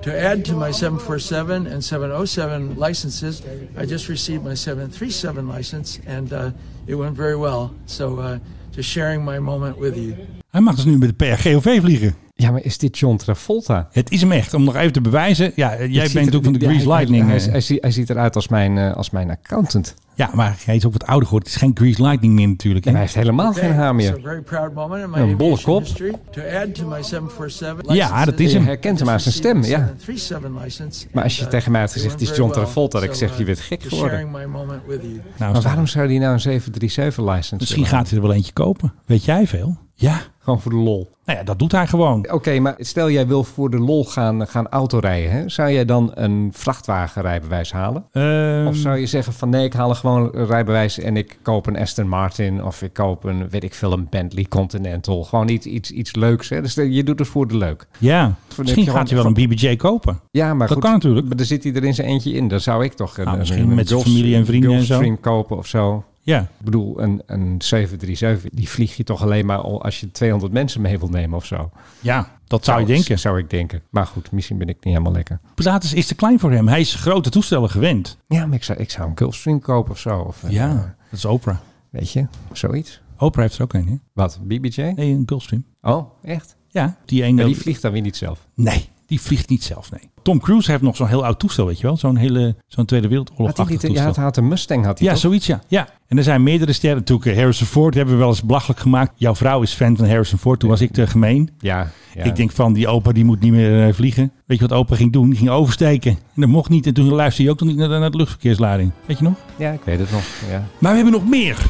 To add to my 747 and 707 licenses, I just received my 737 license, and uh, it went very well. So,
Ah,
uh, just sharing my moment with you.
Hij mag dus nu met de PRGOV vliegen.
Ja, maar is dit John Travolta?
Het is hem echt, om nog even te bewijzen. Ja, eh, jij bent natuurlijk van de Grease Lightning.
Hij,
eh.
hij, hij, hij ziet eruit als mijn, eh, als mijn accountant.
Ja, maar hij is op het oude gehoord. Het is geen Grease Lightning meer natuurlijk. hè?
En hij heeft helemaal geen haar
So,
meer.
very proud moment in my
Een bolle
aviation
kop.
history. To add to my 747
Ja,
licenses,
dat is
Je
hem.
herkent hem aan zijn stem, ja.
737 license.
Maar als je
and, uh,
tegen mij had
it
gezegd,
went
het is
very
John
well.
Travolta, dat ik
So,
zeg, je
uh,
bent gek
just
geworden.
sharing my moment with you.
Nou,
Maar waarom zou hij nou een 737-license
Misschien gaat hij er wel eentje kopen. Weet jij veel? Ja.
Gewoon voor de lol.
Nou ja, dat doet hij gewoon.
Oké, maar stel jij wil voor de lol gaan, eh, gaan autorijden. Hè? Zou jij dan een vrachtwagenrijbewijs halen?
Ehm,
Of zou je zeggen van nee, ik haal gewoon een rijbewijs en ik koop een Aston Martin of ik koop een, weet ik veel, een Bentley Continental. Gewoon iets, iets, iets leuks. Hè? Dus je doet het voor de leuk.
ja,
heb
misschien
je
gaat hij wel
gewoon-
een BBJ kopen.
Ja, maar
Dat
goed,
kan natuurlijk.
Maar daar zit hij er in zijn eentje in. Dan zou ik toch eh, een,
Nou,
een-
misschien
een
met zijn
Gulfstream-
familie en vrienden en zo.
Gulfstream kopen of zo.
Ja,
Ik bedoel, een, een 737, die vlieg je toch alleen maar al als je 200 mensen mee wilt nemen of zo.
ja dat zou je denken.
Zou ik denken. Maar goed, misschien ben ik niet helemaal lekker.
Pilatus is te klein voor hem. Hij is grote toestellen gewend.
Ja, maar ik zou, ik zou een Gulfstream kopen of zo. Of, eh,
Ja, dat is Oprah.
weet je, zoiets.
Oprah heeft er ook een, hè?
Wat, BBJ?
Nee, een Gulfstream.
Oh, echt?
Ja, die ene...
Maar die vliegt dan weer niet zelf.
Nee, die vliegt niet zelf, nee. Tom Cruise heeft nog zo'n heel oud toestel, weet je wel? Zo'n hele, zo'n Tweede
Had hij
Wereldoorlog-achtig
niet, ja,
toestel.
het had een Mustang had hij
Ja,
toch?
zoiets, ja. ja. En er zijn meerdere sterren. Natuurlijk, eh, Harrison Ford hebben we wel eens belachelijk gemaakt. Jouw vrouw is fan van Harrison Ford. Toen was ik te gemeen.
Ja, ja.
Ik denk van, die opa die moet niet meer eh, vliegen. Weet je wat opa ging doen? Die ging oversteken. En dat mocht niet. En toen luisterde hij ook nog niet naar, naar de luchtverkeersleiding. Weet je nog?
ja, ik weet het nog. Ja.
Maar we hebben nog meer.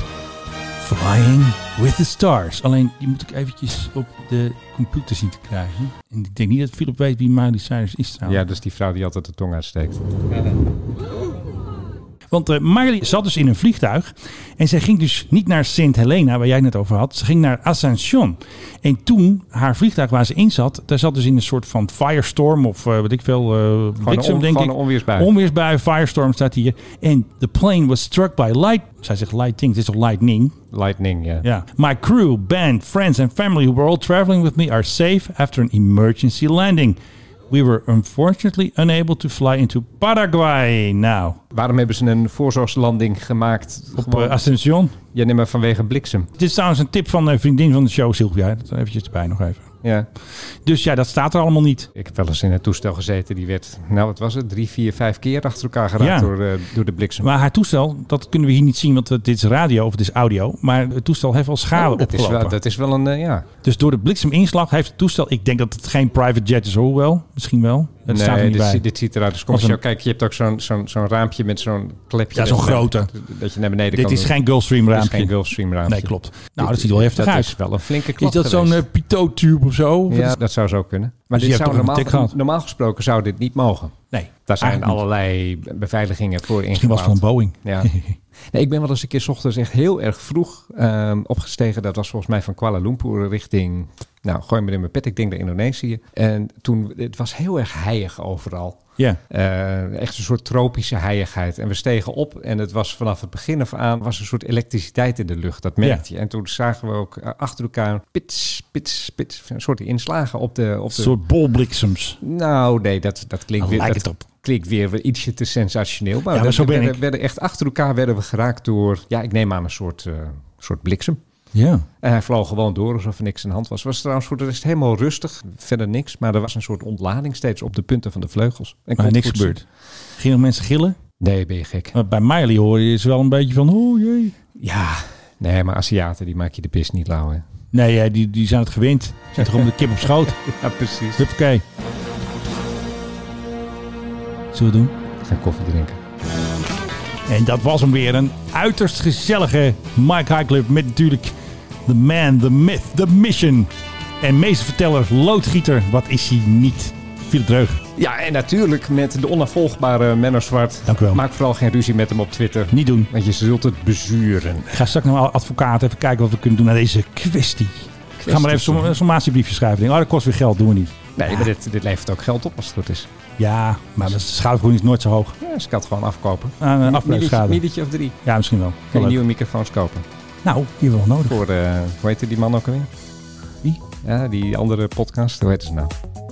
Flying with the Stars. Alleen, die moet ik eventjes op de computer zien te krijgen. En ik denk niet dat Philip weet wie Miley Cyrus is trouwens.
ja, dus die vrouw die altijd de tong uitsteekt.
Want eh Miley zat dus in een vliegtuig. En zij ging dus niet naar Sint Helena, waar jij het net over had. Ze ging naar Ascension. En toen, haar vliegtuig waar ze in zat, daar zat dus in een soort van firestorm of eh weet ik veel, eh
Gewoon
bliksem
een on-
denk
gewoon
ik.
een onweersbui.
Onweersbui, firestorm staat hier. En the plane was struck by light. Zij zegt lighting, het is toch lightning?
Lightning, ja.
Ja. My crew, band, friends and family who were all traveling with me are safe after an emergency landing. We were unfortunately unable to fly into Paraguay. Nou,
Waarom hebben ze een voorzorgslanding gemaakt?
op
Gewoon-
eh, Ascension.
Ja, nee, maar vanwege bliksem.
Dit is trouwens een tip van een vriendin van de show, Sylvia. Dat eventjes erbij nog even.
Ja.
Dus ja, dat staat er allemaal niet.
Ik heb wel eens in het toestel gezeten. Die werd, nou wat was het, drie, vier, vijf keer achter elkaar geraakt
Ja.
door, eh, door de bliksem.
Maar haar toestel, dat kunnen we hier niet zien, want het- dit is radio of het is audio. Maar het toestel heeft wel schade
Oh, dat, is
opgelopen.
wel, dat is wel een, eh, ja.
Dus door de blikseminslag heeft het toestel... Ik denk dat het geen private jet is, hoewel. Misschien wel. Het
nee,
staat er niet
dit,
bij.
zie- dit ziet eruit als commercieel.
Als een-
Kijk, je hebt ook zo'n zo'n zo'n raampje met zo'n klepje.
Ja, zo'n
dat-
grote.
Dat je naar beneden
Dit
kan
is
doen.
geen Gulfstream
Dit is
raampje.
geen Gulfstream raampje.
Nee, klopt. Nou,
Dit-
dat ziet er wel heftig
dat
uit.
is wel een flinke
Is
klap
dat zo'n
geweest.
eh, pitotube of zo? Wat
Ja,
is-
dat zou zo kunnen.
Dus
Maar
je
dit
hebt
zou
toch een tik
normaal,
gehad?
normaal gesproken zou dit niet mogen.
Nee,
Daar zijn
eigenlijk niet.
allerlei be- beveiligingen voor
Misschien was
ingebouwd.
het van Boeing.
Ja. Nee, ik ben wel eens een keer 's ochtends echt heel erg vroeg ehm, opgestegen. Dat was volgens mij van Kuala Lumpur richting... Nou, gooi me in mijn pet. Ik denk naar Indonesië. En toen... Het was heel erg heilig overal.
Ja.
Eh, echt een soort tropische heiligheid. En we stegen op en het was vanaf het begin af aan... was een soort elektriciteit in de lucht. Dat merkte je. En toen zagen we ook eh, achter elkaar... pits, pits, pits. Een soort inslagen op de... Op
Een
de
soort bolbliksems.
nou, nee, dat, dat klinkt
Dan
weer.
lijkt
dat
het
Klinkt weer, weer ietsje te sensationeel. Maar,
Ja, maar
we-
zo
we
ben
werden,
ik.
werden echt achter elkaar werden we geraakt door. Ja, ik neem aan een soort, eh, soort bliksem.
Ja.
En hij vloog gewoon door alsof er niks aan de hand was. Was trouwens voor de rest helemaal rustig. Verder niks. Maar er was een soort ontlading steeds op de punten van de vleugels. En
Maar
kon
niks
goed zien.
gebeurd. Gingen mensen gillen?
Nee, ben je gek.
Maar Bij Miley hoor je is wel een beetje van, oh jee.
Ja. Nee, maar Aziaten, die maak je de pis niet lauw. Hè?
Nee, hè, die, die zijn het gewend. Zit toch om de kip op schoot.
Ja, precies.
Huppakee. Zullen we doen?
Gaan koffie drinken.
En dat was hem weer. Een uiterst gezellige Mike High Club met natuurlijk The Man, The Myth, The Mission. En meesterverteller, loodgieter, wat is hij niet? Philip Dreug.
Ja, en natuurlijk met de onafvolgbare Menno Zwart.
Dank u wel.
Maak vooral geen ruzie met hem op Twitter.
Niet doen.
Want je zult het bezuren.
Ik ga straks naar mijn advocaat even kijken wat we kunnen doen aan deze kwestie. Ik ga maar even zo'n sommatiebriefje schrijven. Ik denk, Oh, dat kost weer geld, doen we niet.
Nee, maar dit, dit levert ook geld op als het goed is.
Ja, maar de schoudergroen is nooit zo hoog.
Ja, ze kan het gewoon afkopen.
Aan een
Middetje,
afbreukschade.
middetje of drie.
Ja, misschien wel.
Kun
Wel
je
leuk.
nieuwe microfoons kopen.
Nou, hier wel nodig.
Voor, eh hoe heette die man ook alweer?
Wie?
Ja, die andere podcast. Hoe heette ze nou?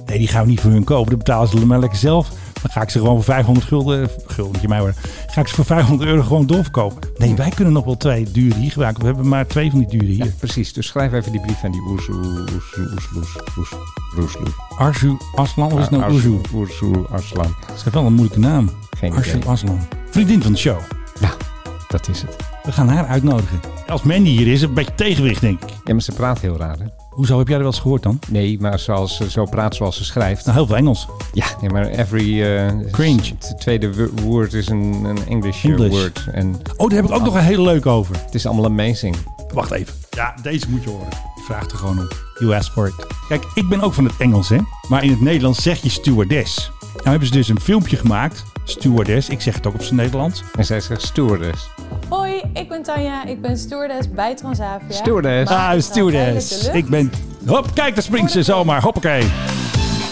Nee, die gaan we niet voor hun kopen. Dat betalen ze maar lekker zelf. Dan ga ik ze gewoon voor 500 gulden... Guldentje mij hoor. Ga ik ze voor 500 euro gewoon doorverkopen. Nee, wij kunnen nog wel twee dure hier gebruiken. We hebben maar twee van die dure hier.
Ja, precies. Dus schrijf even die brief aan die Oersu... Oersu... Oersu... Oersu... Oersu...
Arzu Aslan, of is het nou Oezu?
Oersu... Oersu... Arslan.
Dat is wel een moeilijke naam.
Geen
Arzu
idee.
Aslan. Vriendin van de show.
Ja, Nou, dat is het.
We gaan haar uitnodigen. Als Mandy hier is, een beetje tegenwicht, denk ik.
Ja, maar ze praat heel raar, hè?
Hoezo heb jij er wel eens gehoord dan?
Nee, maar zoals ze zo praat zoals ze schrijft.
Nou, heel veel Engels.
Ja, nee, maar every... eh,
Cringe.
Het tweede wo- woord is een, een English, eh,
English.
word. En
Oh, daar heb ik ook nog een hele leuke over.
het is allemaal amazing.
Wacht even. Ja, deze moet je horen. Ik vraag er gewoon om. You asked for it. Kijk, ik ben ook van het Engels, hè? Maar in het Nederlands zeg je stewardess. Nou hebben ze dus een filmpje gemaakt. Stewardess, ik zeg het ook op zijn Nederlands.
En zij zegt stewardess.
Hoi, ik ben Tanja. Ik ben stewardess bij Transavia.
Stewardess.
Maar
Ah,
ik ga
stewardess.
tijdelijk de
Ik
lucht.
ben... Hop, kijk, daar springt ze zomaar. Hoppakee.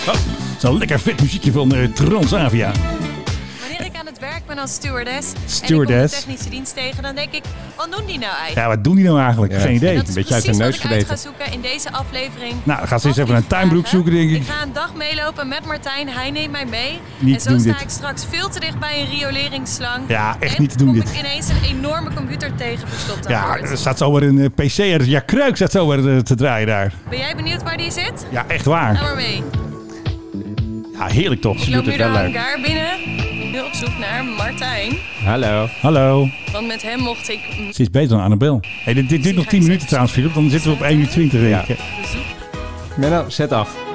Hop. Zo'n lekker vet muziekje van eh, Transavia.
Wanneer ik aan het werk ben als stewardess, en ik kom de
Stewardess.
technische dienst tegen, dan denk ik, wat doen die nou eigenlijk?
Ja, wat doen die nou eigenlijk?
Ja.
Geen idee.
Dat is
beetje uit
precies
de
wat
neus
ik uit ga
vreten.
zoeken in deze aflevering.
Nou, dan gaan ze eens
Wat
even een
die
tuinbroek
vragen.
zoeken, denk ik.
Ik ga een dag meelopen met Martijn, hij neemt mij mee.
Niet
en
te
zo
doen
sta
dit.
ik straks veel te dicht bij een rioleringsslang.
Ja, echt
en
niet te doen
kom
dit.
ik ineens een enorme computer tegen verstopt aan
Ja,
boord.
er staat zomaar een eh, PC. Er, ja, Kruik staat zomaar eh, te draaien daar.
Ben jij benieuwd waar die zit?
Ja, echt
Ga
waar.
maar mee.
Ja, heerlijk toch?
Ik loop nu de
wel leuk.
hangar binnen. Nu op zoek naar Martijn.
Ah. Hallo.
Hallo.
Want met hem mocht ik
Ze is beter dan Annabel. Hey, dit dit duurt nog 10 minuten trouwens, Philip. Dan zitten we op 1 uur 20, denk ik.
Menno, zet af.